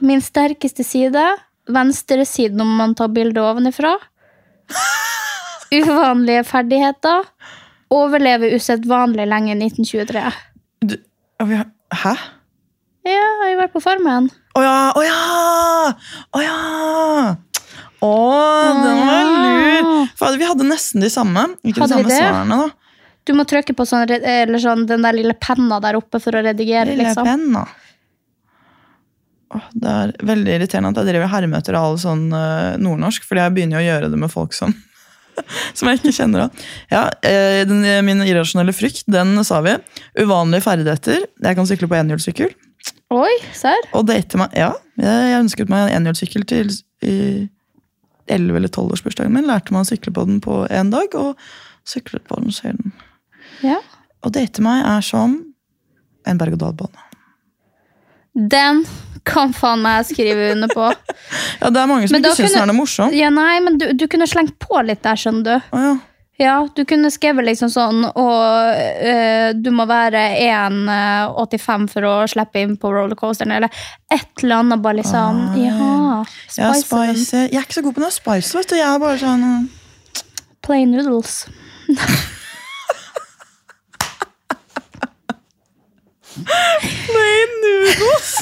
[SPEAKER 2] Min sterkeste side. Venstre side når man tar bilde ovenifra. Uvanlige ferdigheter. Overleve usedvanlig lenge i 1923.
[SPEAKER 1] Du, ja, vi har, hæ?
[SPEAKER 2] Ja, jeg har jo vært på Farmen.
[SPEAKER 1] Å ja! Å ja! Å ja! Å, den var
[SPEAKER 2] ja.
[SPEAKER 1] lur! Fader, vi hadde nesten de samme. Ikke
[SPEAKER 2] Hadde
[SPEAKER 1] de
[SPEAKER 2] vi
[SPEAKER 1] samme
[SPEAKER 2] det?
[SPEAKER 1] svarene, da.
[SPEAKER 2] Du må trykke på sånn, red- eller sånn, den der lille penna der oppe for å redigere.
[SPEAKER 1] Lille
[SPEAKER 2] liksom.
[SPEAKER 1] penna. Åh, Det er veldig irriterende at jeg driver hermeter av all sånn eh, nordnorsk, fordi jeg begynner jo å gjøre det med folk som, *laughs* som jeg ikke kjenner. av. Ja, eh, den, min irrasjonelle frykt, den sa vi. Uvanlige ferdigheter. Jeg kan sykle på enhjulssykkel.
[SPEAKER 2] Oi, serr?
[SPEAKER 1] Og date meg Ja, jeg, jeg ønsket meg en enhjulssykkel til s- i 11- eller 12-årsbursdagen min. Lærte meg å sykle på den på én dag, og syklet på den sjelden.
[SPEAKER 2] Ja.
[SPEAKER 1] Å date meg er som en berg-og-dal-bane.
[SPEAKER 2] Den kan faen meg skrive
[SPEAKER 1] *laughs*
[SPEAKER 2] under på.
[SPEAKER 1] Ja, det er mange som
[SPEAKER 2] Men da
[SPEAKER 1] ikke syns den
[SPEAKER 2] kunne-
[SPEAKER 1] er noe morsom.
[SPEAKER 2] Ja, nei, men du, du kunne slengt på litt der, skjønner du.
[SPEAKER 1] Å ja.
[SPEAKER 2] Ja, Du kunne skrevet liksom sånn Og eh, du må være 1,85 for å slippe inn på rollercoasteren, eller et eller annet. Bare liksom
[SPEAKER 1] Ah,
[SPEAKER 2] Ja.
[SPEAKER 1] Jeg, er
[SPEAKER 2] Spice and
[SPEAKER 1] spicy. jeg er ikke så god på noe spice, vet du. Jeg er bare sånn
[SPEAKER 2] plain noodles.
[SPEAKER 1] Plain noodles!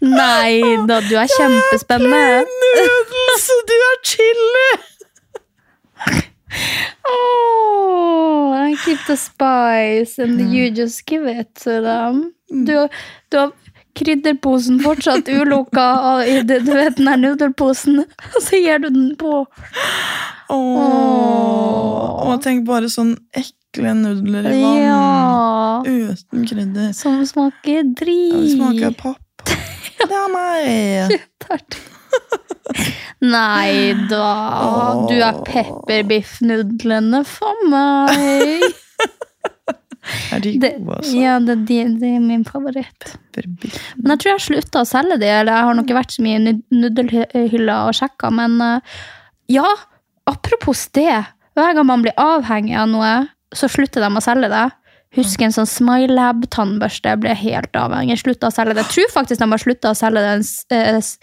[SPEAKER 2] Nei da, du er kjempespennende.
[SPEAKER 1] *laughs* noodles! Du er chili!
[SPEAKER 2] Oh, I keep the spice, and you just give it to them.
[SPEAKER 1] Mm.
[SPEAKER 2] Du, du har krydderposen fortsatt ulukka av- i det- du vet, den her nudelposen, *laughs* og så gir du den på.
[SPEAKER 1] Åh. Og tenk bare sånn ekle nudler i vann.
[SPEAKER 2] Ja.
[SPEAKER 1] Uten krydder.
[SPEAKER 2] Som smaker
[SPEAKER 1] Ja, Det smaker
[SPEAKER 2] drit. *laughs*
[SPEAKER 1] papp. Det er meg!
[SPEAKER 2] Nei da, du er pepperbiffnudlene for
[SPEAKER 1] *laughs*
[SPEAKER 2] meg.
[SPEAKER 1] Er de
[SPEAKER 2] Det,
[SPEAKER 1] gode, altså?
[SPEAKER 2] ja, det, det, det er min favoritt.
[SPEAKER 1] Pepperbiff.
[SPEAKER 2] Men jeg tror jeg slutta å selge de. Eller jeg har nok ikke vært så mye i nud- nudelhylla og sjekka, men eh, ja, apropos det. Hver gang man blir avhengig av noe, så slutter de å selge det. Husker en sånn Smilab-tannbørste. Jeg ble helt avhengig. Slutta å selge det. Jeg tror faktisk de har slutta å selge den eh, s-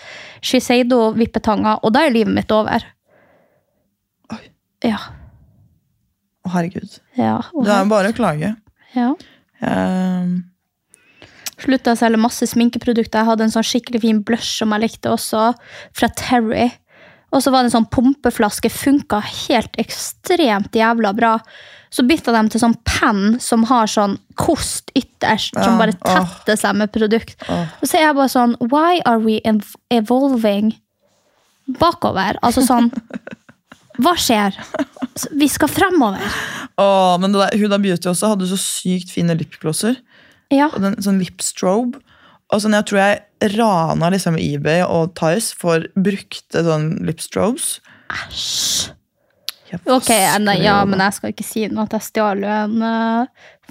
[SPEAKER 2] Shiseido-vippetanga, og da er livet mitt over.
[SPEAKER 1] Oi.
[SPEAKER 2] Ja.
[SPEAKER 1] Å, herregud.
[SPEAKER 2] ja,
[SPEAKER 1] Det er jo bare å klage.
[SPEAKER 2] ja.
[SPEAKER 1] Ehm,
[SPEAKER 2] Slutta å selge masse sminkeprodukter. Jeg hadde en sånn skikkelig fin blush som jeg likte også, fra Terry. Og så var det en sånn pumpeflaske. Funka helt ekstremt jævla bra. Så bytta de til sånn penn som har sånn kost ytterst,
[SPEAKER 1] Ja,
[SPEAKER 2] som bare
[SPEAKER 1] åh.
[SPEAKER 2] tetter seg med produkt.
[SPEAKER 1] Åh.
[SPEAKER 2] Og så er jeg bare sånn Why are we ev- evolving bakover? Altså sånn Hva skjer? Vi skal fremover.
[SPEAKER 1] Åh, men det der, Huda Beauty også hadde så sykt fine lipglosser.
[SPEAKER 2] Ja.
[SPEAKER 1] Og den, sånn lipstrobe. Og sånn, jeg tror jeg rana liksom eBay og Tice for brukte sånn lipstrobes. Æsj.
[SPEAKER 2] Ok, nei, ja, men
[SPEAKER 1] *laughs*
[SPEAKER 2] jeg skal ikke si noe at jeg stjal jo en eh,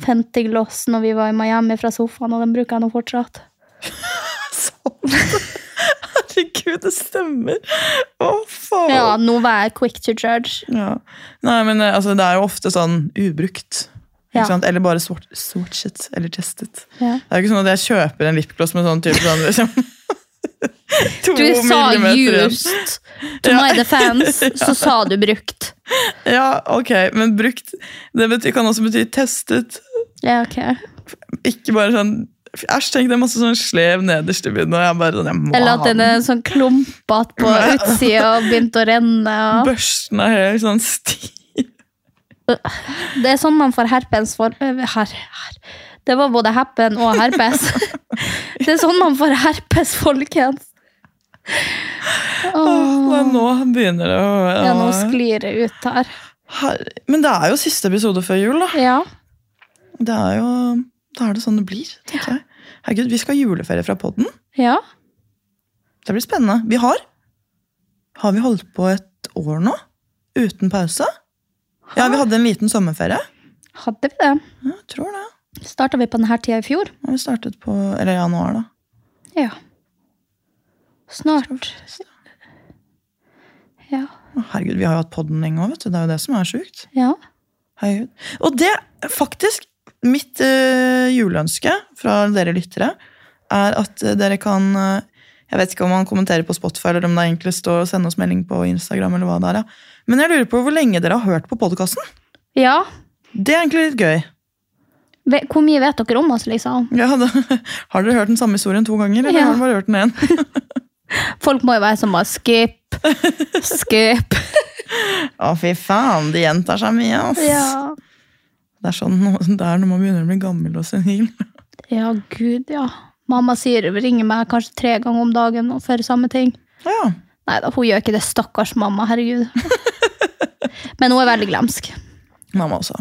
[SPEAKER 2] Fenty Gloss når vi var i Miami fra sofaen, og den bruker jeg nå fortsatt.
[SPEAKER 1] Herregud, det stemmer! Å, faen!
[SPEAKER 2] Ja, nå var jeg quick to judge.
[SPEAKER 1] Ja. Nei, men eh, altså, det er jo ofte sånn ubrukt. Ikke
[SPEAKER 2] Ja.
[SPEAKER 1] sant? Eller bare swat- swatchet eller testet.
[SPEAKER 2] Ja.
[SPEAKER 1] Det er jo ikke sånn at jeg kjøper en lipgloss med sånn type sånn, liksom, *laughs* to
[SPEAKER 2] Du sa
[SPEAKER 1] millimeter igjen.
[SPEAKER 2] used. To my defense, så sa du brukt.
[SPEAKER 1] Ja, ok, men brukt Det bety- kan også bety testet.
[SPEAKER 2] Ja, ok.
[SPEAKER 1] Ikke bare sånn Æsj, tenk det er masse sånn slev nederst i bunnen. Og jeg bare sånn, jeg må
[SPEAKER 2] Eller at
[SPEAKER 1] ha
[SPEAKER 2] den
[SPEAKER 1] den.
[SPEAKER 2] er sånn klumpete på utsida og begynte å renne. Og.
[SPEAKER 1] Børsten er helt sånn stiv.
[SPEAKER 2] Det er sånn man får herpes for eh, her, her. Det var både happen og herpes. *laughs* Det er sånn man får herpes, folkens. Åh,
[SPEAKER 1] Nei, Nå begynner det å
[SPEAKER 2] ja, nå
[SPEAKER 1] ja.
[SPEAKER 2] sklir det ut her.
[SPEAKER 1] Her- Men det er jo siste episode før jul, da.
[SPEAKER 2] Ja.
[SPEAKER 1] Det er jo, Da er det sånn det blir, tenker jeg. Herregud, vi skal ha juleferie fra podden.
[SPEAKER 2] ja.
[SPEAKER 1] Det blir spennende. Vi har Har vi holdt på et år nå? Uten pause? Ja, vi hadde en liten sommerferie.
[SPEAKER 2] Hadde vi det?
[SPEAKER 1] Ja, jeg tror det.
[SPEAKER 2] Starta vi på denne tida i fjor?
[SPEAKER 1] Og vi startet på Eller januar, da.
[SPEAKER 2] Ja. Snart. Ja.
[SPEAKER 1] Å, Herregud, vi har jo hatt podden lenge òg, vet du. Det er jo det som er sjukt.
[SPEAKER 2] ja.
[SPEAKER 1] Herregud. Og det, faktisk, mitt eh, juleønske fra dere lyttere er at eh, dere kan eh, Jeg vet ikke om man kommenterer på Spotify, eller om det er enklest å sende oss melding på Instagram, eller hva det er. Ja. Men jeg lurer på hvor lenge dere har hørt på podkasten.
[SPEAKER 2] ja.
[SPEAKER 1] Det er egentlig litt gøy.
[SPEAKER 2] Ve- Hvor mye vet dere om oss, liksom?
[SPEAKER 1] Ja, da, *laughs* har dere hørt den samme historien to ganger, eller
[SPEAKER 2] Ja.
[SPEAKER 1] har dere bare hørt den én? *laughs*
[SPEAKER 2] Folk må jo være som bare skip, skip.
[SPEAKER 1] Å, fy faen, de gjentar seg mye, ass.
[SPEAKER 2] *laughs* Ja.
[SPEAKER 1] Det er sånn det er når man begynner å bli gammel og senil. *laughs*
[SPEAKER 2] ja, gud, ja. Mamma sier, ringer meg kanskje tre ganger om dagen nå for samme ting.
[SPEAKER 1] Ja.
[SPEAKER 2] Nei da, hun gjør ikke det. Stakkars mamma, *laughs* herregud. Men hun er veldig glemsk.
[SPEAKER 1] Mamma også.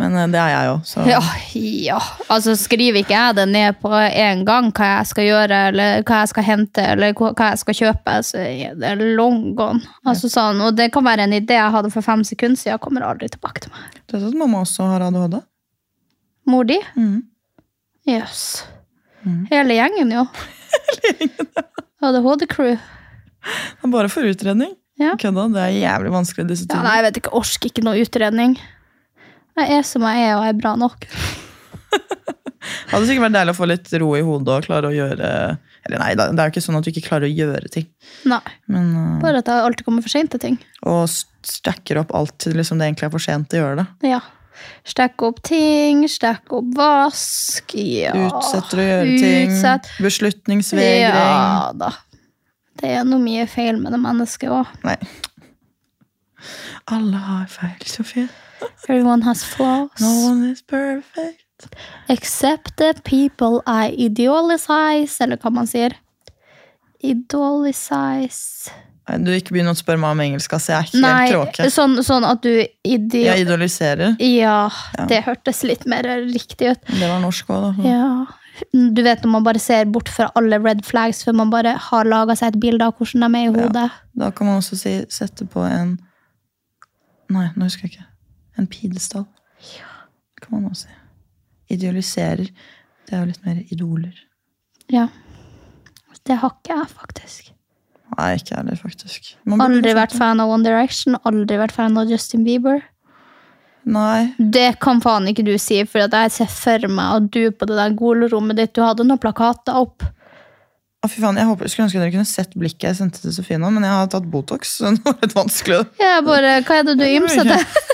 [SPEAKER 1] Men eh, det er jeg jo, så
[SPEAKER 2] Ja, ja. Altså, skriver ikke jeg det ned på en gang, hva jeg skal gjøre, eller hva jeg skal hente, eller hva hva jeg skal kjøpe, så er det long gone. Altså, sånn, og det kan være en idé jeg hadde for fem sekunder siden, jeg kommer aldri tilbake til meg.
[SPEAKER 1] Du vet sånn at mamma også har ADHD?
[SPEAKER 2] Mor di?
[SPEAKER 1] Mhm.
[SPEAKER 2] Jøss. Hele gjengen, jo. ADHD-crew.
[SPEAKER 1] Det er Bare for utredning.
[SPEAKER 2] Ja.
[SPEAKER 1] Kødda, det er jævlig vanskelig i disse
[SPEAKER 2] Ja,
[SPEAKER 1] tider.
[SPEAKER 2] nei, jeg vet ikke. Orsker ikke noe utredning. Jeg er som jeg er, og jeg er bra nok.
[SPEAKER 1] det hadde sikkert vært deilig å få litt ro i hodet og klare å gjøre Eller nei, det er jo ikke sånn at du ikke klarer å gjøre ting,
[SPEAKER 2] Nei.
[SPEAKER 1] men eh,
[SPEAKER 2] Bare at jeg alltid kommer for seint til ting.
[SPEAKER 1] Og st- stacker opp alt til liksom det egentlig er for sent å gjøre det.
[SPEAKER 2] Ja. Stekke opp ting, stekke opp vask ja.
[SPEAKER 1] Utsetter å gjøre ting.
[SPEAKER 2] Utsett.
[SPEAKER 1] Beslutningsvegring.
[SPEAKER 2] Ja da. Det er noe mye feil med det mennesket òg.
[SPEAKER 1] Nei. Alle har feil, Sofie.
[SPEAKER 2] Everyone has flaws.
[SPEAKER 1] No one is perfect.
[SPEAKER 2] Except the people I idealize, eller hva man sier. Idolisize
[SPEAKER 1] Nei, du ikke begynn å spørre meg om engelsk, ass. Jeg er helt
[SPEAKER 2] Nei,
[SPEAKER 1] kråke.
[SPEAKER 2] sånn, sånn at du ideo...
[SPEAKER 1] Jeg idoliserer.
[SPEAKER 2] Ja,
[SPEAKER 1] Ja. Mm.
[SPEAKER 2] det hørtes litt mer riktig ut.
[SPEAKER 1] Det var norsk òg, da.
[SPEAKER 2] Ja. Du vet når man bare ser bort fra alle red flags før man bare har laga seg et bilde av hvordan de er i hodet.
[SPEAKER 1] Da kan man også si sette på en Nei, nå husker jeg ikke. En pidestall. Det kan man også si. Idealiserer. Det er jo litt mer idoler.
[SPEAKER 2] Ja. Det har ikke jeg, faktisk.
[SPEAKER 1] Nei, ikke jeg heller, faktisk. Man burde liksom
[SPEAKER 2] Aldri vært
[SPEAKER 1] sette-
[SPEAKER 2] fan av One Direction, aldri vært fan av Justin Bieber.
[SPEAKER 1] Nei.
[SPEAKER 2] Det kan faen ikke du si, for at jeg ser for meg at du på det der golrommet ditt, du hadde noen plakater opp.
[SPEAKER 1] Å, fy faen, jeg, håper, jeg skulle ønske dere kunne sett blikket jeg sendte til Sofie nå, men jeg har tatt Botox. Så *laughs* det var litt vanskelig.
[SPEAKER 2] Jeg bare, Hva er det du ymser til?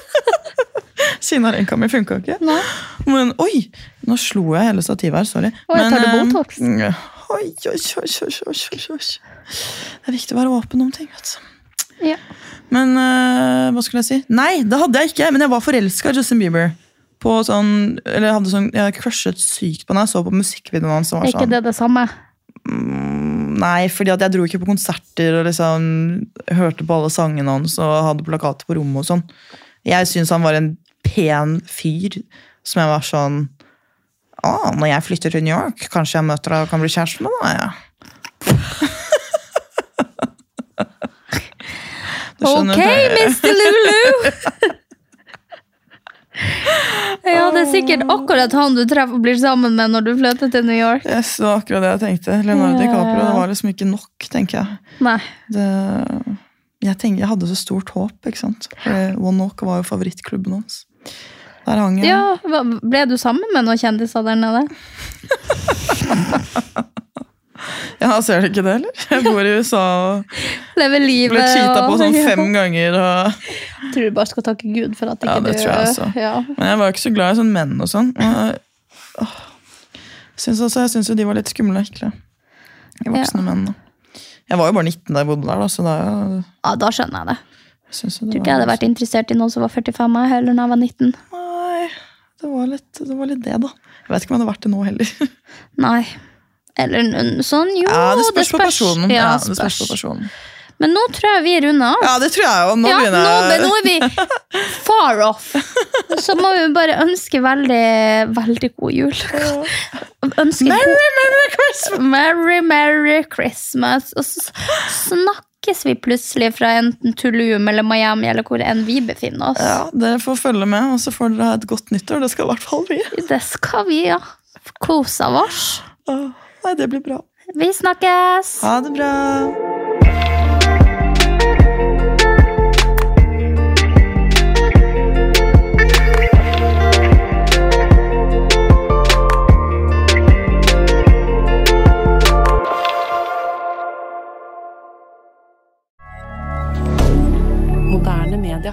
[SPEAKER 1] Sinarenka mi funka ikke.
[SPEAKER 2] Nei.
[SPEAKER 1] Men oi! Nå slo jeg hele stativet her, sorry.
[SPEAKER 2] Oi,
[SPEAKER 1] Men,
[SPEAKER 2] tar du
[SPEAKER 1] eh,
[SPEAKER 2] Botox?
[SPEAKER 1] Oi, oi, oi, oi, oi, oi, oi. Det er viktig å være åpen om ting, vet du.
[SPEAKER 2] Ja.
[SPEAKER 1] Men øh, hva skulle jeg si? Nei, det hadde jeg ikke, men jeg var forelska i Justin Bieber. På sånn, eller jeg hadde sånn, Jeg crushet sykt på han. Jeg så på musikkvideoen hans. som
[SPEAKER 2] Er
[SPEAKER 1] var
[SPEAKER 2] ikke
[SPEAKER 1] sånn,
[SPEAKER 2] det det samme?
[SPEAKER 1] Nei, fordi at jeg dro ikke på konserter og liksom hørte på alle sangene hans og hadde plakater på rommet og sånn. Jeg syns han var en pen fyr som jeg var sånn ah, Når jeg flytter til New York, kanskje jeg møter deg og kan bli kjæreste med deg? Ja. Du skjønner
[SPEAKER 2] Ok,
[SPEAKER 1] det.
[SPEAKER 2] Mr.
[SPEAKER 1] *laughs*
[SPEAKER 2] Lulu! ja, det er sikkert akkurat han du treffer og blir sammen med når du flytter til New York.
[SPEAKER 1] Yes, det var akkurat det jeg tenkte. Leonardo DiCaprio det var liksom ikke nok, tenker jeg.
[SPEAKER 2] Nei.
[SPEAKER 1] det, jeg, tenker, jeg hadde så stort håp, ikke sant? For One Walk var jo favorittklubben hans. Der hang jeg.
[SPEAKER 2] Ja, hva- Ble du sammen med noen kjendiser der nede?
[SPEAKER 1] Ja, Ser du ikke det, eller? Jeg bor i USA og
[SPEAKER 2] Leve livet
[SPEAKER 1] ble cheata
[SPEAKER 2] og-
[SPEAKER 1] på sånn fem ganger. Og...
[SPEAKER 2] Jeg tror du bare skal takke Gud for at ikke
[SPEAKER 1] Ja, det
[SPEAKER 2] du
[SPEAKER 1] tror jeg også.
[SPEAKER 2] Ja.
[SPEAKER 1] Men jeg var jo ikke så glad i sånn menn og sånn. Og, åh, syns også, jeg syns jo de var litt skumle og ekle. De voksne menn. Da. Jeg var jo bare 19 da jeg bodde der, da, så da
[SPEAKER 2] ja, da skjønner jeg det.
[SPEAKER 1] jeg synes jo
[SPEAKER 2] Tror
[SPEAKER 1] det
[SPEAKER 2] ikke jeg hadde vært interessert i noen som var 45 jeg heller når jeg var 19.
[SPEAKER 1] Nei, det var, litt, det var litt det, da. Jeg vet ikke om jeg hadde vært det nå
[SPEAKER 2] *laughs*
[SPEAKER 1] heller.
[SPEAKER 2] Nei. Eller n- sånn, jo
[SPEAKER 1] Ja, det spørs på personen.
[SPEAKER 2] Ja,
[SPEAKER 1] Ja, det spørs på
[SPEAKER 2] spørs.
[SPEAKER 1] personen.
[SPEAKER 2] Men nå tror jeg vi runder av.
[SPEAKER 1] Ja, det tror jeg jo. Nå
[SPEAKER 2] Ja, nå,
[SPEAKER 1] begynner jeg
[SPEAKER 2] nå er vi far off. Så må vi bare ønske veldig, veldig god jul. Ønske merry, merry Christmas! Merry, merry Christmas. Og så snakkes vi plutselig fra enten Tulum eller Miami eller hvor enn vi befinner oss.
[SPEAKER 1] Ja, Dere får følge med, og så får dere ha et godt nyttår. Det skal i hvert fall vi.
[SPEAKER 2] Det skal vi, ja. Kose av oss.
[SPEAKER 1] Åh, Nei, det blir bra.
[SPEAKER 2] Vi snakkes!
[SPEAKER 1] Ha det bra.
[SPEAKER 3] Moderne media.